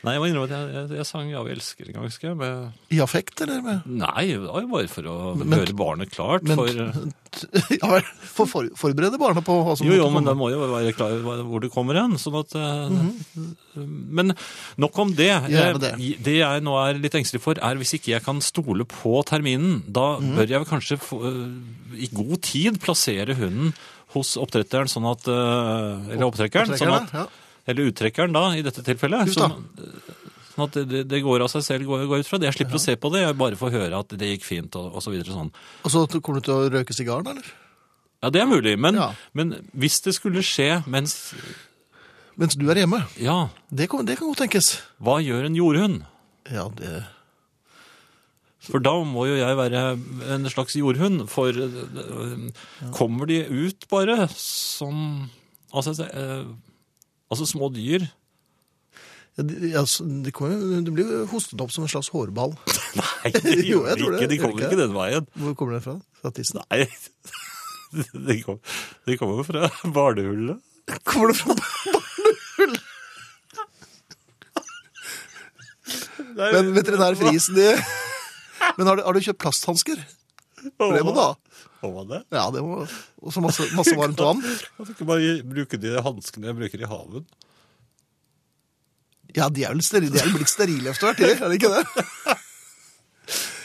Nei, jeg må innrømme at jeg, jeg, jeg sang 'Ja, vi elsker' en gang, husker jeg. Med...
I affekt, eller? Med,
Nei, det var jo bare for å
Men-
gjøre barnet klart.
men,
for...
ja, vel, for, for forberede barna på hva som
Jo, jo,
måtte
men da
komme.
må jo være klar over hvor du kommer hen. Sånn at, eh,
Mhm.
Men nok om det.
Ja,
Eh,
men det.
Det jeg nå er litt engstelig for, er hvis ikke jeg kan stole på terminen. Da
Mhm.
bør jeg vel kanskje få, eh, i god tid plassere hunden hos oppdretteren, sånn at, eh, eller opptrekkeren, sånn at,
ja.
eller uttrekkeren da, i dette tilfellet.
Huff da.
Sånn, sånn at det- det, det går av seg selv, går, går ut fra det. Jeg slipper å se på det, jeg bare får høre at det gikk fint og, og så videre sånn.
Og så kommer du til å røyke sigaren, eller?
Ja, det er mulig, men,
Ja.
men hvis det skulle skje mens,
Mens du er hjemme.
ja,
Det kan, det kan godt tenkes.
Hva gjør en jordhund?
Ja, det...
For da må jo jeg være en slags jordhund, for øh, kommer de ut bare som Altså, øh, altså små dyr?
Ja, de- ja, så de kommer jo- det blir jo hostet opp som en slags hårball.
Nei, det
Jo,
gjør
jeg
de
tror det.
ikke. De
Gjør
kommer
ikke
ikke den veien.
Hvor kommer den fra? Fra tissen?
Nei. De kom- de kommer jo fra barnehullet.
Kommer det fra
Nei,
Men veterinær Friis, de... Men har du, har du kjøpt plasthansker? For det må du ha.
Må man det?
Ja, det må... Og så masse, masse varmt vann.
Kan ikke bare bruke de hanskene jeg bruker i haven?
Ja, de er vel sterile. De er vel blitt sterile etter hvert, de, er det ikke det?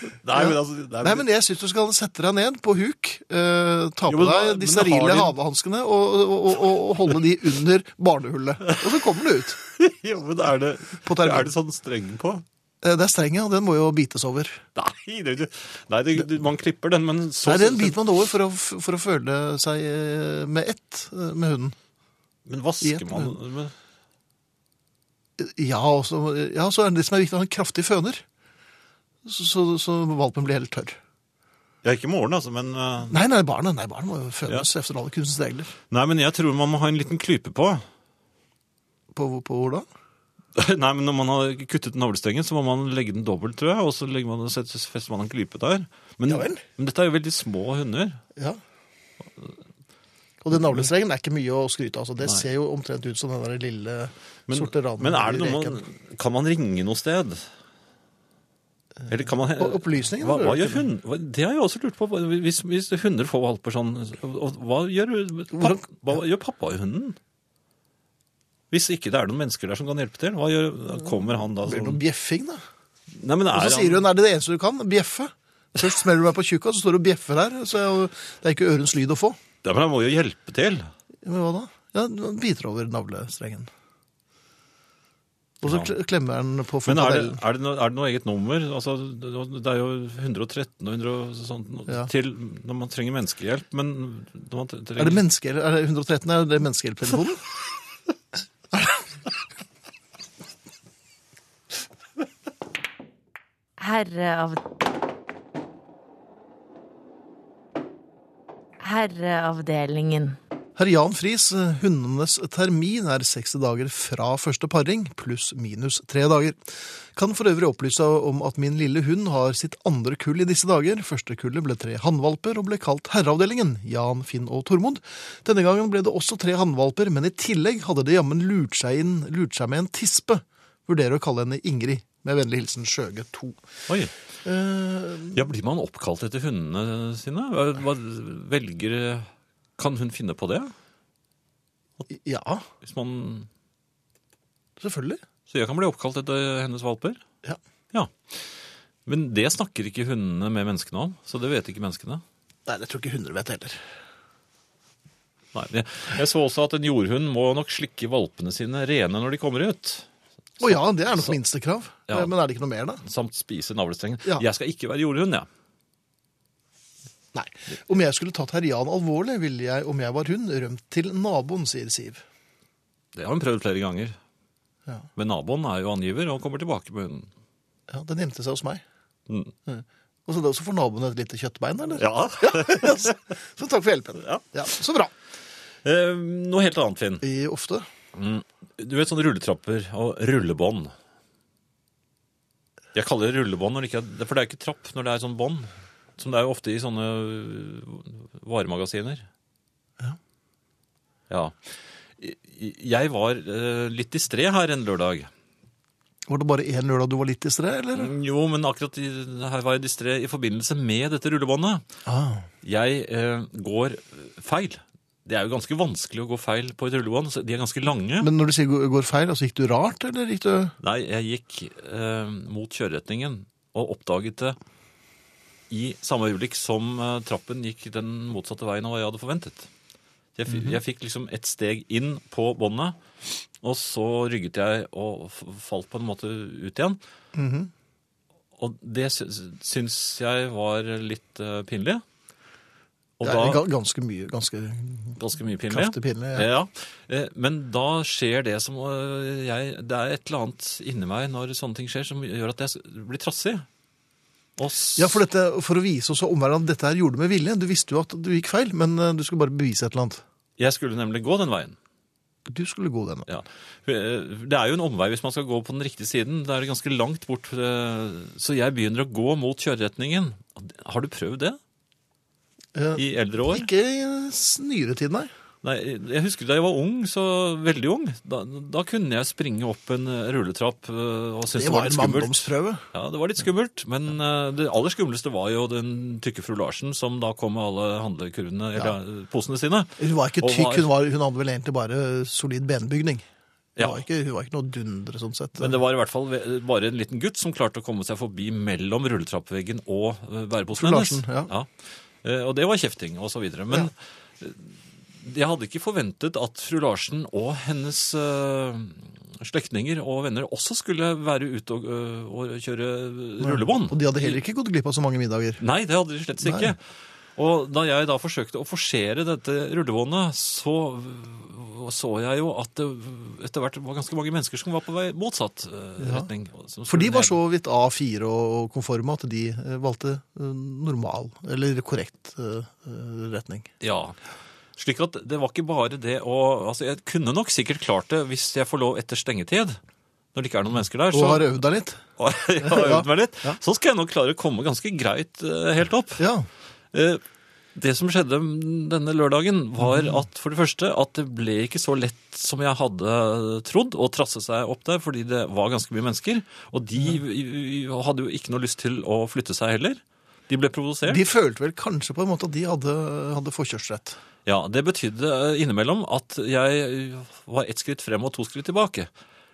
Nei,
Ja.
men altså det er-
Nei, men jeg syns du skal sette deg ned på huk, eh, ta
Jo,
på
men da-
deg
men
de
da
sterile
har de-
havehanskene og, og, og, og holde de under barnehullet. Og så kommer du ut.
Jo, men er det,
På termin.
er det sånn streng på?
Eh, Det er strengen, og den må jo bites over.
Nei, det, det- nei det, det, man klipper den, men så
Nei, den biter man over for å, for å føle seg eh, med ett eh, med hunden.
Men
i et
vasker man men,
Ja, og så, ja, så er det det som er viktig, han har kraftig føner. Så, så, så valpen blir helt tørr.
Ja, ikke i morgen, altså, men eh,
Nei, nei, barnet, nei, barnet må jo fønes efter alle kunstens regler.
Nei, men jeg tror man må ha en liten klype på.
På, hvor- på hvor da?
Nei, men når man har kuttet navlestengen, så må man legge den dobbelt, tror jeg, og så legger man, så fester man en klype der. Men,
Ja vel.
men dette er jo veldig små hunder.
Ja. Og den navlestrengen er ikke mye å skryte av. Altså. Det
Eh. Nei.
ser jo omtrent ut som den der lille
Men,
sorte randen.
men er
i
det noe
reken.
man Kan man ringe noe sted? Eller kan man
Og opplysningene,
Hva, hva
lurer
gjør
jeg
hund? hva- Det har jeg også lurt på. Hva- Hvis, hvis hunder får valper sånn og- Hva gjør,
Hvordan-
papp, hva gjør pappa i hunden? Hvis ikke det er noen mennesker der som kan hjelpe til, hva gjør, kommer han da?
Blir det
Sånn?
noe bjeffing, da?
Nei, men er
Og så sier hun, er det det eneste du kan? Bjeffe. Først smeller du meg på tjukka, så står du og bjeffer her. Så er jo- det er ikke ørens lyd å få.
Ja, men han må jo hjelpe til.
Men hva da? Ja, han biter over navlestrengen. Og så
Ja.
kle- klemmer han på
Men er det,
fortadellen.
er det, noe, er det noe eget nummer? Altså, det er jo 113 og 100 og sånt noe
Ja.
til når man trenger menneskehjelp, men når man tre-
Er det
trenger
menneske, er det 113? Er det menneskehjelptelefonen?
Herreav... Herreavdelingen.
Herr Jan Friis, eh, hundenes termin er 60 dager fra første paring, pluss minus tre dager. Kan for øvrig opplyse om at min lille hund har sitt andre kull i disse dager. Første kullet ble tre hannvalper og ble kalt Herreavdelingen, Jan, Finn og Tormod. Denne gangen ble det også tre hannvalper, men i tillegg hadde det jammen lurt seg inn, lurt seg med en tispe. Vurderer å kalle henne Ingrid. Med vennlig hilsen Skjøge 2.
Oi.
Eh,
Ja, blir man oppkalt etter hundene sine? Hva- Hva velger Kan hun finne på det?
ja,
Hvis man
selvfølgelig.
Så jeg kan bli oppkalt etter hennes valper?
Ja.
ja. Men det snakker ikke hundene med menneskene om, så det vet ikke menneskene.
Nei, jeg tror ikke hunder vet heller.
Nei, jeg, jeg så også at en jordhund må nok slikke valpene sine rene når de kommer ut.
Å ja, det er nok minstekrav.
Ja.
Men er det ikke noe mer, da?
Samt spise navlestrengen.
Ja.
Jeg skal ikke være jordhund, jeg.
Nei. Om jeg skulle tatt herr Jan alvorlig, ville jeg, om jeg var hun, rømt til naboen, sier Siv.
Det har hun prøvd flere ganger.
Ja.
Men naboen er jo angiver og kommer tilbake med hunden.
Ja, Den gjemte seg hos meg.
Mm.
Og så, så får naboen et lite kjøttbein, eller?
Ja.
så så takk for hjelpen. Ja. så bra.
Eh, noe helt annet, Finn.
I ofte.
Mm. Du vet sånne rulletrapper og rullebånd. Jeg kaller det rullebånd, når det ikke er, for det er ikke trapp når det er sånn bånd. Som det er jo ofte i sånne øh, varemagasiner. Ja. I- Jeg var øh, litt distré her en lørdag.
Var det bare én lørdag du var litt i sted, eller?
Jo, men akkurat i, her var jeg distré i forbindelse med dette rullebåndet.
Ah.
Jeg eh, går feil. Det er jo ganske vanskelig å gå feil på et rullebånd. så De er ganske lange.
Men når du sier gå- går feil, altså gikk du rart, eller gikk du
Nei, jeg gikk eh, mot kjøreretningen og oppdaget det i samme øyeblikk som eh, trappen gikk den motsatte veien av hva jeg hadde forventet. Jeg,
Mhm.
fi- jeg fikk liksom et steg inn på båndet, og så rygget jeg og f- falt på en måte ut igjen.
Mhm.
Og det sy- syns jeg var litt eh, pinlig. Og
Det er ga- ganske mye, ganske
Ganske mye pinlig.
kraftig pinlig. Ja.
Ja. Eh, Men da skjer det som eh, jeg Det er et eller annet inni meg når sånne ting skjer, som gjør at jeg s- blir trassig. Og s-
Ja, for, dette, for å vise også omverdenen at dette her gjorde du med vilje. Du visste jo at du gikk feil, men eh, du skulle bare bevise et eller annet.
Jeg skulle nemlig gå den veien.
Du skulle gå den.
Ja. Eh, Det er jo en omvei hvis man skal gå på den riktige siden. Da er det ganske langt bort. eh, Så jeg begynner å gå mot kjøreretningen. Har du prøvd det?
Eh,
I eldre år?
Ikke i s- nyere tid, nei.
Nei, jeg husker da jeg var ung, så veldig ung, da, da kunne jeg springe opp en eh, rulletrapp eh, og synes det,
Det
var
var en
litt skummelt.
manndomsprøve.
Ja, det var litt skummelt, men eh, det aller skumleste var jo den tykke fru Larsen som da kom med alle handlekurvene, eller eh, posene sine.
Hun var ikke
Og
tykk,
var-
hun, var, hun hadde vel egentlig bare solid benbygning. Hun,
Ja.
var, ikke, hun var ikke noe dundre, sånn sett.
Men det var i hvert fall ve- bare en liten gutt som klarte å komme seg forbi mellom rulletrappveggen og
Fru
eh, bæreposen hennes.
Larsen, ja.
Eh, Og det var kjefting og så videre. Men eh, jeg hadde ikke forventet at fru Larsen og hennes eh, slektninger og venner også skulle være ute og, eh, og kjøre rullebånd.
Og de hadde heller ikke gått glipp av så mange middager.
Nei, det hadde de slett ikke. Og da jeg da forsøkte å forsere dette rullebåndet, så så jeg jo at det etter hvert var ganske mange mennesker som var på vei motsatt eh, retning. som
For de
skulle
var
ned.
så vidt A4 og konforme at de eh, valgte eh, normal, eller korrekt eh, eh, retning.
Ja. Slik at det var ikke bare det å Altså, jeg kunne nok sikkert klart det hvis jeg får lov etter stengetid. Når det ikke er noen mennesker der.
Og
Så
har øvd deg litt.
jeg har øvd meg litt.
Ja.
Så skal jeg nok klare å komme ganske greit eh, helt opp.
Ja.
Eh, Det som skjedde denne lørdagen var at for det første at det ble ikke så lett som jeg hadde trodd å trasse seg opp der, fordi det var ganske mye mennesker. Og de i- i- hadde jo ikke noe lyst til å flytte seg heller. De ble provosert.
De følte vel kanskje på en måte at de hadde, hadde forkjørsrett.
Ja, det betydde eh, innimellom at jeg var ett skritt frem og to skritt tilbake.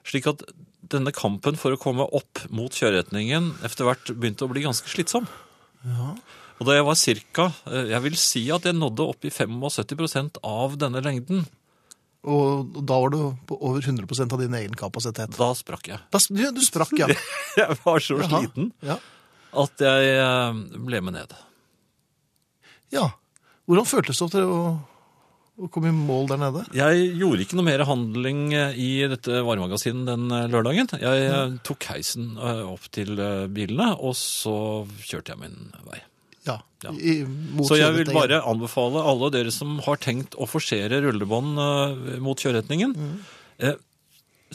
Slik at denne kampen for å komme opp mot kjøreretningen etter hvert begynte å bli ganske slitsom. Og da jeg var cirka, eh, jeg vil si at jeg nådde opp i 75 av denne lengden,
Og da var du på over 100 av din egen kapasitet.
da sprakk jeg.
Da, du, du sprakk, ja.
Jeg var så
Jaha.
sliten
ja.
at jeg eh, ble med ned.
Ja. Hvordan føltes det til å, å komme i mål der nede?
Jeg gjorde ikke noe mer handling eh, i dette varemagasinet den eh, lørdagen. Jeg eh,
Mm.
tok heisen eh, opp til eh, bilene, og så kjørte jeg min vei.
Ja.
Ja.
I, mot
Så jeg vil
kjøreretningen.
bare anbefale alle dere som har tenkt å forsere rullebånd eh, mot kjøreretningen,
Mm.
eh,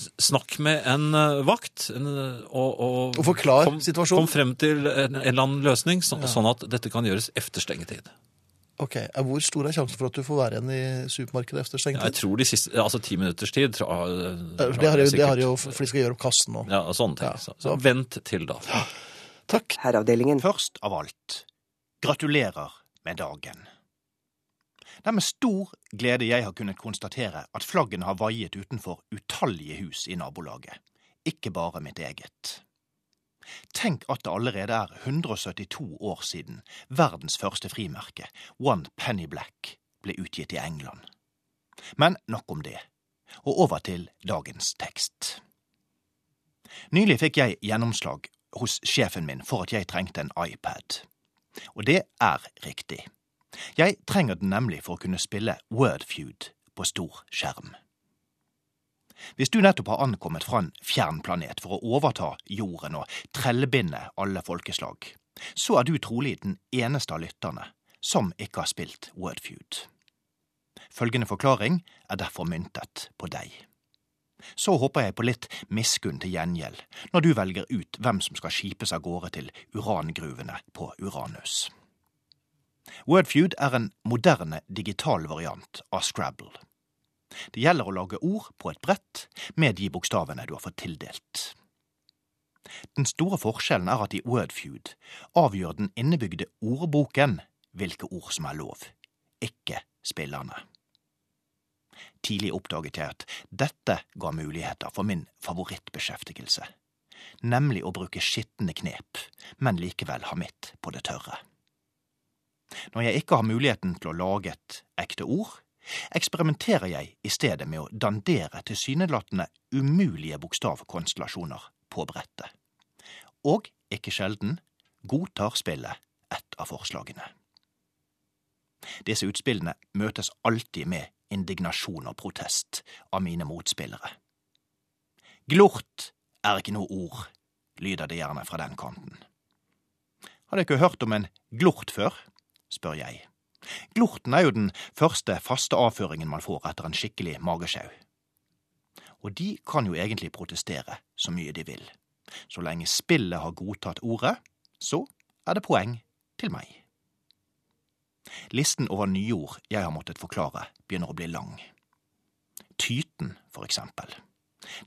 s- snakk med en eh, vakt en, eh, og,
Og forklar situasjonen.
Kom frem til en, en eller annen løsning, så, sånn at dette kan gjøres efter stengetid.
Ok, er Hvor stor er sjansen for at du får være igjen i supermarkedet etter
Ja, Jeg
stengetid?
tror de siste, altså ti minutters tid. Tra,
Eh, Det har, jo- det har jo, for de skal gjøre opp kassen nå.
Ja, sånne ting.
Ja.
Så, så vent til da.
Takk.
Herreavdelingen.
Først av alt, gratulerer med dagen. Det er med stor glede jeg har kunnet konstatere at flaggene har vaiet utenfor utallige hus i nabolaget, ikke bare mitt eget. Tenk at det allerede er 172 år siden verdens første frimerke, One Penny Black, ble utgitt i England. Men nok om det, og over til dagens tekst. Nylig fikk jeg gjennomslag hos sjefen min for at jeg trengte en iPad. Og det er riktig. Jeg trenger den nemlig for å kunne spille Wordfeud på stor skjerm. Hvis du nettopp har ankommet fra en fjern planet for å overta jorden og trellebinde alle folkeslag, så er du trolig den eneste av lytterne som ikke har spilt Wordfeud. Følgende forklaring er derfor myntet på deg. Så håper jeg på litt miskunn til gjengjeld når du velger ut hvem som skal skipes av gårde til urangruvene på Uranus. Wordfeud er en moderne digital variant av Scrabble. Det gjelder å lage ord på et brett med de bokstavene du har fått tildelt. Den store forskjellen er at i Wordfeud avgjør den innebygde ordboken hvilke ord som er lov, ikke spillerne. Tidlig oppdaget jeg at dette ga muligheter for min favorittbeskjeftigelse, nemlig å bruke skitne knep, men likevel ha mitt på det tørre. Når jeg ikke har muligheten til å lage et ekte ord, eksperimenterer jeg i stedet med å dandere tilsynelatende umulige bokstavkonstellasjoner på brettet. Og, ikke sjelden, godtar spillet ett av forslagene. Disse utspillene møtes alltid med indignasjon og protest av mine motspillere. Glort er ikke noe ord, lyder det gjerne fra den kanten. Har dere ikke hørt om en glort før? spør jeg. Glorten er jo den første faste avføringen man får etter en skikkelig magesjau. Og de kan jo egentlig protestere så mye de vil. Så lenge spillet har godtatt ordet, så er det poeng til meg. Listen over nye ord jeg har måttet forklare, begynner å bli lang. Tyten, for eksempel.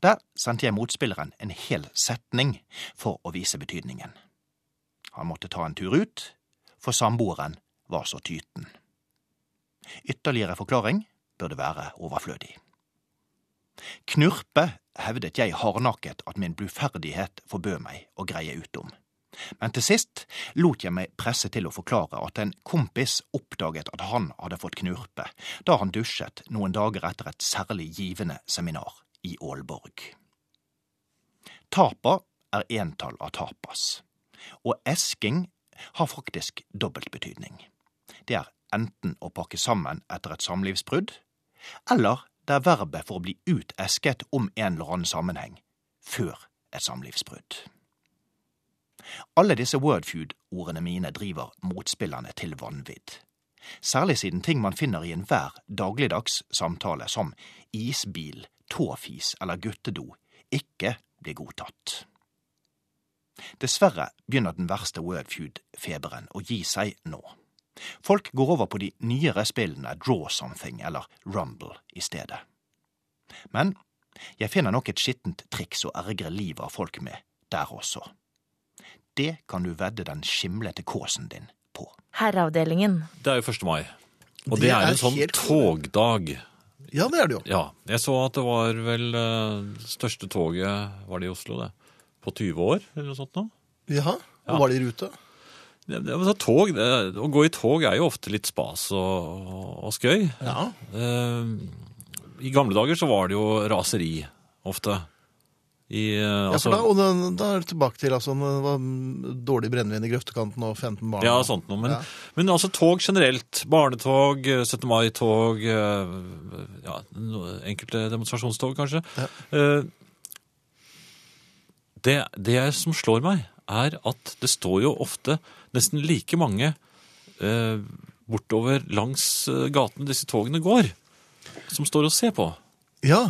Der sendte jeg motspilleren en hel setning for å vise betydningen. Han måtte ta en tur ut, for samboeren var så tyten. Ytterligere forklaring burde være overflødig. Knurpe hevdet jeg hardnakket at min bluferdighet forbød meg å greie ut om. Men til sist lot jeg meg presse til å forklare at en kompis oppdaget at han hadde fått knurpe da han dusjet noen dager etter et særlig givende seminar i Aalborg. Tapa er entall av tapas, og esking har faktisk dobbeltbetydning. Det er enten å pakke sammen etter et samlivsbrudd, eller det er verbet for å bli utesket om en eller annen sammenheng før et samlivsbrudd. Alle disse wordfeud-ordene mine driver motspillerne til vanvidd. Særlig siden ting man finner i enhver dagligdags samtale, som isbil, tåfis eller guttedo, ikke blir godtatt. Dessverre begynner den verste wordfeud-feberen å gi seg nå. Folk går over på de nyere spillene Draw Something eller Rumble i stedet. Men jeg finner nok et skittent triks å ergre livet av folk med der også. Det kan du vedde den skimlete kåsen din på.
Herreavdelingen.
Det er jo 1. mai. Og
Det
det, er
er
en sånn
helt-
togdag.
Ja, det er det jo.
Ja. Jeg så at det var vel eh, største toget Var det i Oslo, det? På 20 år, eller noe sånt noe?
Jaha,
Ja.
og var det i rute?
Det, det, altså, tog, det, å gå i tog er jo ofte litt spas og, og, og skøy.
Ja.
Eh, I gamle dager så var det jo raseri ofte. I, eh,
Ja,
altså,
for da, og den, da er det tilbake til altså, det var mm, dårlig brennevin i grøftekanten og 15 barn.
Ja, sånt noe. Men,
Ja.
men altså tog generelt. Barnetog, eh, 17. mai-tog, eh, ja, no- enkelte demonstrasjonstog kanskje. Eh, Det, det som slår meg, er at det står jo ofte nesten like mange eh, bortover langs eh, gatene disse togene går, som står og ser på.
Ja.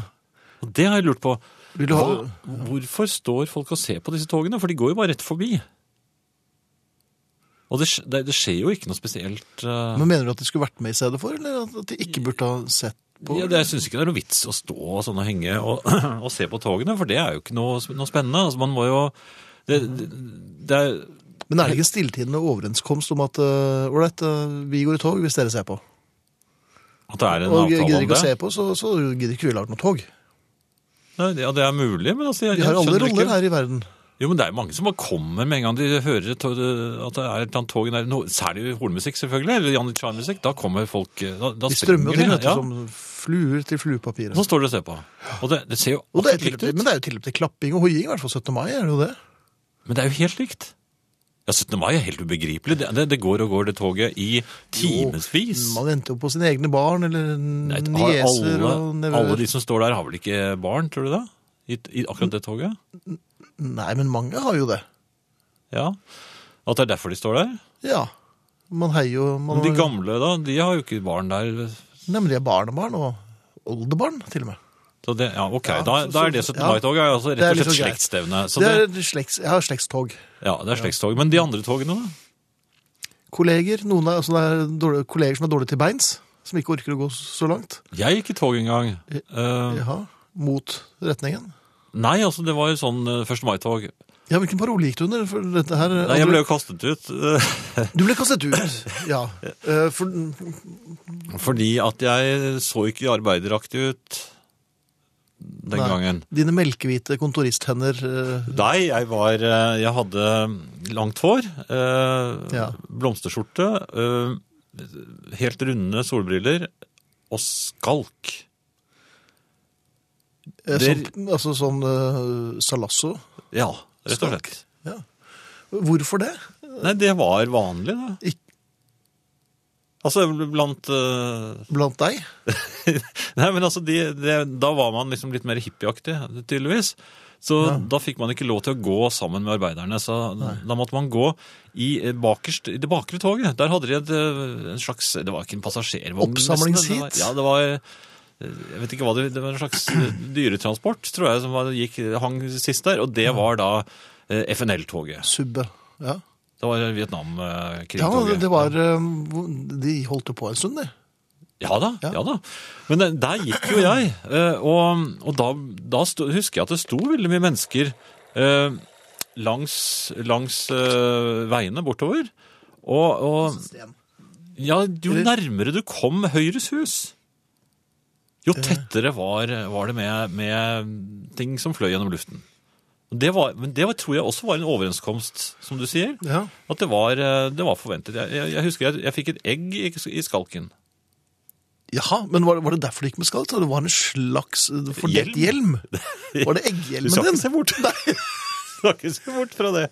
Og det har jeg lurt på.
Vil du ha...
Hva, hvorfor står folk og ser på disse togene? For de går jo bare rett forbi. Og det, skj- det, det skjer jo ikke noe spesielt eh,
Men mener du at de skulle vært med i stedet for, eller at de ikke burde ha sett på?
ja, det, Jeg syns ikke det er noe vits å stå og sånn og henge og, og se på togene, for det er jo ikke noe, sp- noe spennende. Altså, man må jo det, det, det er,
Men er det ikke en stilltiende overenskomst om at øh, ålreit, øh, vi går i tog hvis dere ser på?
At det er en
Og
avtale
gidder
om
ikke å
det?
se på, så, så gidder ikke vi lage noe tog.
Nei, det- ja, det er mulig, men altså jeg,
Vi har
jeg
alle
skjønner ikke
roller her i verden.
Jo, men det er jo mange som bare kommer med en gang de hører et, at det er et eller annet tog der. No- Særlig hornmusikk, selvfølgelig, eller Janne Chan-musikk. Da kommer folk eh, da, da
De strømmer jo
springer
til, vet
de,
du, som fluer til fluepapiret.
Så står du og ser på. Og det, det ser jo
Og det er
akkurat
til,
likt ut.
men det er jo tilløp til klapping og hoiing, i hvert fall 17. mai. er det jo det?
Men det er jo helt likt. Ja, 17. mai er helt ubegripelig. Det, det, det går og går det toget i timevis.
Man venter jo på sine egne barn eller
Nei, har
nieser
alle,
og
alle
nevøer.
de som står der, har vel ikke barn, tror du det? I, i akkurat det toget?
Nei, men mange har jo det.
Ja. At det er derfor de står der?
Ja. Man heier jo man,
Men de gamle, da, de har jo ikke barn der.
Nemlig barnebarn og oldebarn, til og med.
Så det, ja, ok,
Ja,
da,
så-
da er det
så-
17.
ja.
mai-tog, ja. altså rett
Det er
og slett
liksom greit.
slektstevne. Så
Det
det,
er slekts, jeg har slektstog.
ja, det er slektstog. Men de andre togene, da?
Kolleger, noen er, altså det er dårlige, kolleger som er dårlige til beins, som ikke orker å gå så langt.
Jeg gikk i tog en gang. Eh,
Jaha, mot retningen.
nei, altså det var jo sånn eh, 1. mai-tog.
Ja, hvilken parole gikk du under? For dette her,
Nei, jeg ble jo kastet ut eh,
Du ble kastet ut, ja. Eh, For,
fordi at jeg så ikke arbeideraktig ut den
Nei.
gangen.
dine melkehvite kontoristhender eh,
Nei, jeg var eh, Jeg hadde langt hår, eh,
Ja.
blomsterskjorte, eh, helt runde solbriller og skalk.
eh,
Der-
sånn, Altså sånn eh, salasso.
Ja, rett og
Skalk.
slett.
Hvorfor det?
Nei, det var vanlig, det.
Ik-
Altså blant eh,
Blant deg?
Nei, men altså, de, det- da var man liksom litt mer hippieaktig, tydeligvis. Så da fikk man ikke lov til å gå sammen med arbeiderne. Så da måtte man gå i, eh, bakerst, i det bakre toget. Der hadde de et, eh, en slags Det var ikke en passasjervogn. nesten, det var-
Oppsamlingsheat?
Ja, det var eh, jeg vet ikke hva det, det var en slags eh, dyretransport, tror jeg, som var, gikk, hang sist der. Og det var da eh, FNL-toget.
Subbe. Ja,
Det var eh, Vietnamkrig-toget.
ja det, det var eh, hvor- De holdt jo på en stund, de.
Ja da, ja,
Ja.
da. Men eh, der gikk jo jeg, eh, og, og da, da sto, husker jeg at det sto veldig mye mennesker eh, langs, langs eh, veiene bortover. Og, og ja, jo nærmere du kom Høyres hus, jo tettere var, var det med, med ting som fløy gjennom luften. Og Det var, men det var, tror jeg også var en overenskomst, som du sier.
Ja.
At det var, eh, det var forventet. Jeg, jeg, jeg husker jeg, jeg fikk et egg i, i skalken.
Jaha, men var, var det derfor det gikk med skall? Så Det var en slags eh, fordekt hjelm? Var det
Du skal
egghjelmen
ikke
din?
se bort, Nei. Du skal ikke se bort fra det.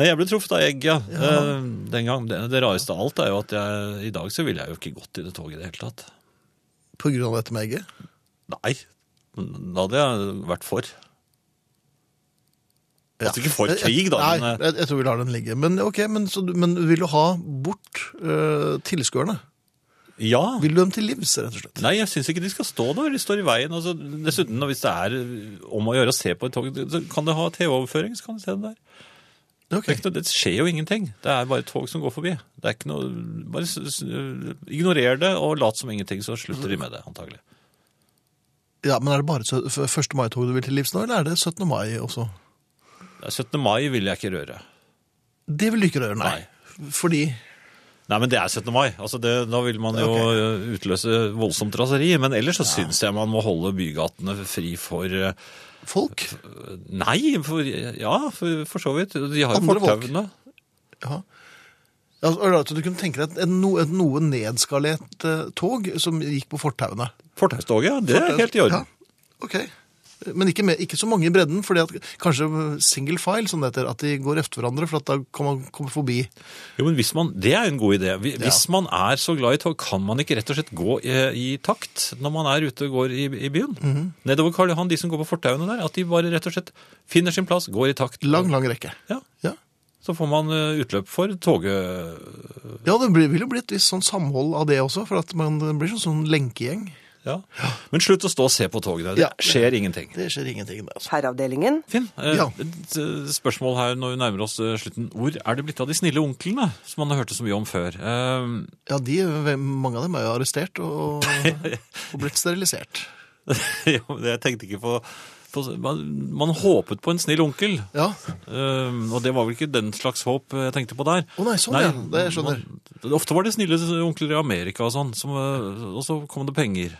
Nei, jeg ble truffet av egg, ja. Eh, Den gang. Det, det rareste av alt er jo at jeg, i dag så ville jeg jo ikke gått i det toget i det hele tatt.
På grunn av dette med egget?
Nei. Da hadde jeg vært for.
Ja.
Altså ikke for krig, da.
Nei,
men, eh,
jeg, jeg tror vi lar den ligge. Men ok, men, så, du- men vil du ha bort uh, tilskuerne?
ja.
Vil du dem til livs, rett og slett?
Nei, jeg syns ikke de skal stå der. De står i veien. Altså, dessuten, og hvis det er om å gjøre å se på et tog, så kan det ha TV-overføring. så kan du se det der. Det, er
Ok.
ikke noe, det skjer jo ingenting. Det er bare tog som går forbi. Det er ikke noe, bare s- s- Ignorer det og lat som ingenting, så slutter de med det, antagelig.
Ja, men er det bare sø- f- 1. mai-tog du vil til livs nå, eller er det 17. mai også?
Det er 17. mai vil jeg ikke røre.
Det vil du ikke gjøre, nei. Fordi
Nei, men det er 17. mai. Altså det, da vil man jo eh, utløse voldsomt raseri. Men ellers så syns jeg man må holde bygatene fri for eh,
folk
Nei, for, ja, for, for så vidt. De har jo
Andre folk.
fortauene.
Ja. Ja, altså, er det at du kunne tenke deg et, et, no- et noe nedskalert eh, tog som gikk på fortauene.
Fortaustoget, det er helt i orden.
Ja, ok. Men ikke, med, ikke så mange i bredden, fordi at kanskje single file, som det heter, at de går efter hverandre, for at da kan man komme forbi.
Jo, men hvis man, Det er en god idé. Hvi- Hvis man er så glad i tog, kan man ikke rett og slett gå i, i takt når man er ute og går i, i byen?
Mhm.
Nedover Karl Johan, de som går på fortauene der, at de bare rett og slett finner sin plass, går i takt.
Lang, lang rekke.
Ja,
Ja,
Så får man eh, utløp for toget.
ja det blir, vil jo bli et visst sånn samhold av det også, for at man blir sånn, sånn lenkegjeng.
Ja. Men slutt å stå og se på togene. Det
Ja.
skjer ingenting.
Det skjer ingenting med, altså.
Herreavdelingen.
Finn, eh,
Ja.
et eh, spørsmål her når vi nærmer oss eh, slutten. Hvor er det blitt av de snille onklene som man har hørt så mye om før? Eh,
Ja, de, hvem- mange av dem er jo arrestert og, og blitt sterilisert.
ja, men Eh, jeg tenkte ikke på, på man, man håpet på en snill onkel.
Ja,
Ehm, og det var vel ikke den slags håp eh, jeg tenkte på der.
Å nei, sånn, ja. Det jeg skjønner.
man- ofte var det snille onkler i Amerika og sånn, som, eh, og så kom det penger.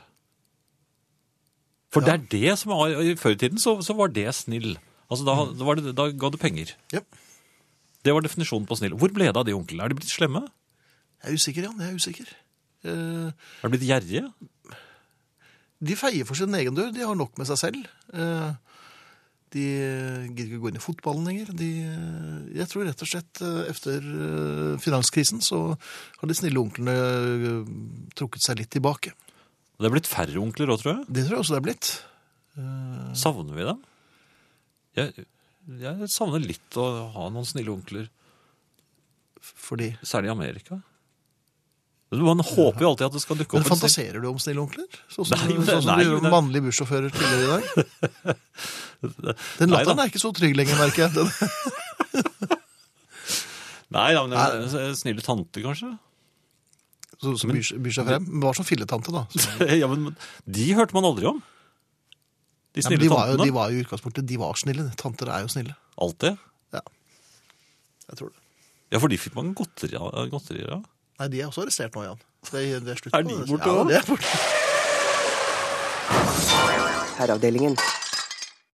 For det er det som var, i før i tiden så, så var det snill. Altså da, da, var det, da ga det penger.
ja.
Det var definisjonen på snill. Hvor ble det av de onklene? Er de blitt slemme?
Jeg er usikker, Jan, jeg er usikker. Eh,
Er de blitt gjerrige?
De feier for sin egen dør, de har nok med seg selv. Eh, De gidder ikke gå inn i fotballen lenger. De, eh, jeg tror rett og slett eh, efter eh, finanskrisen så har de snille onklene eh, trukket seg litt tilbake.
Det er blitt færre onkler òg, tror jeg.
Det tror jeg også det er blitt.
Savner vi dem? Jeg, jeg savner litt å ha noen snille onkler,
Fordi
særlig i Amerika. Altså, Man håper jo alltid at det skal dukke
Men
opp en stil.
fantaserer du om snille onkler? Sånn som,
Nei, men-
sånn som
nei,
du gjorde
men-
med mannlige bussjåfører tidligere i dag? Den
Nei da.
latteren er ikke så trygg lenger, merker jeg. Den,
Nei, ja, men eh, snille tante, kanskje?
Sånn som som byr, byr seg frem. Men var som filletante, da. Så,
ja, men De hørte man aldri om. De
Nei, men
snille
de, var jo,
tantene.
de var jo i utgangspunktet de var snille. Tanter er jo snille.
Alltid.
Ja. Jeg tror det.
Ja, for de fikk man godteri av. godterier av.
Nei, de er også arrestert nå, Jan. Det, det er slutt
Er
på
de
det.
borte
Ja,
også?
de er borte.
Herreavdelingen.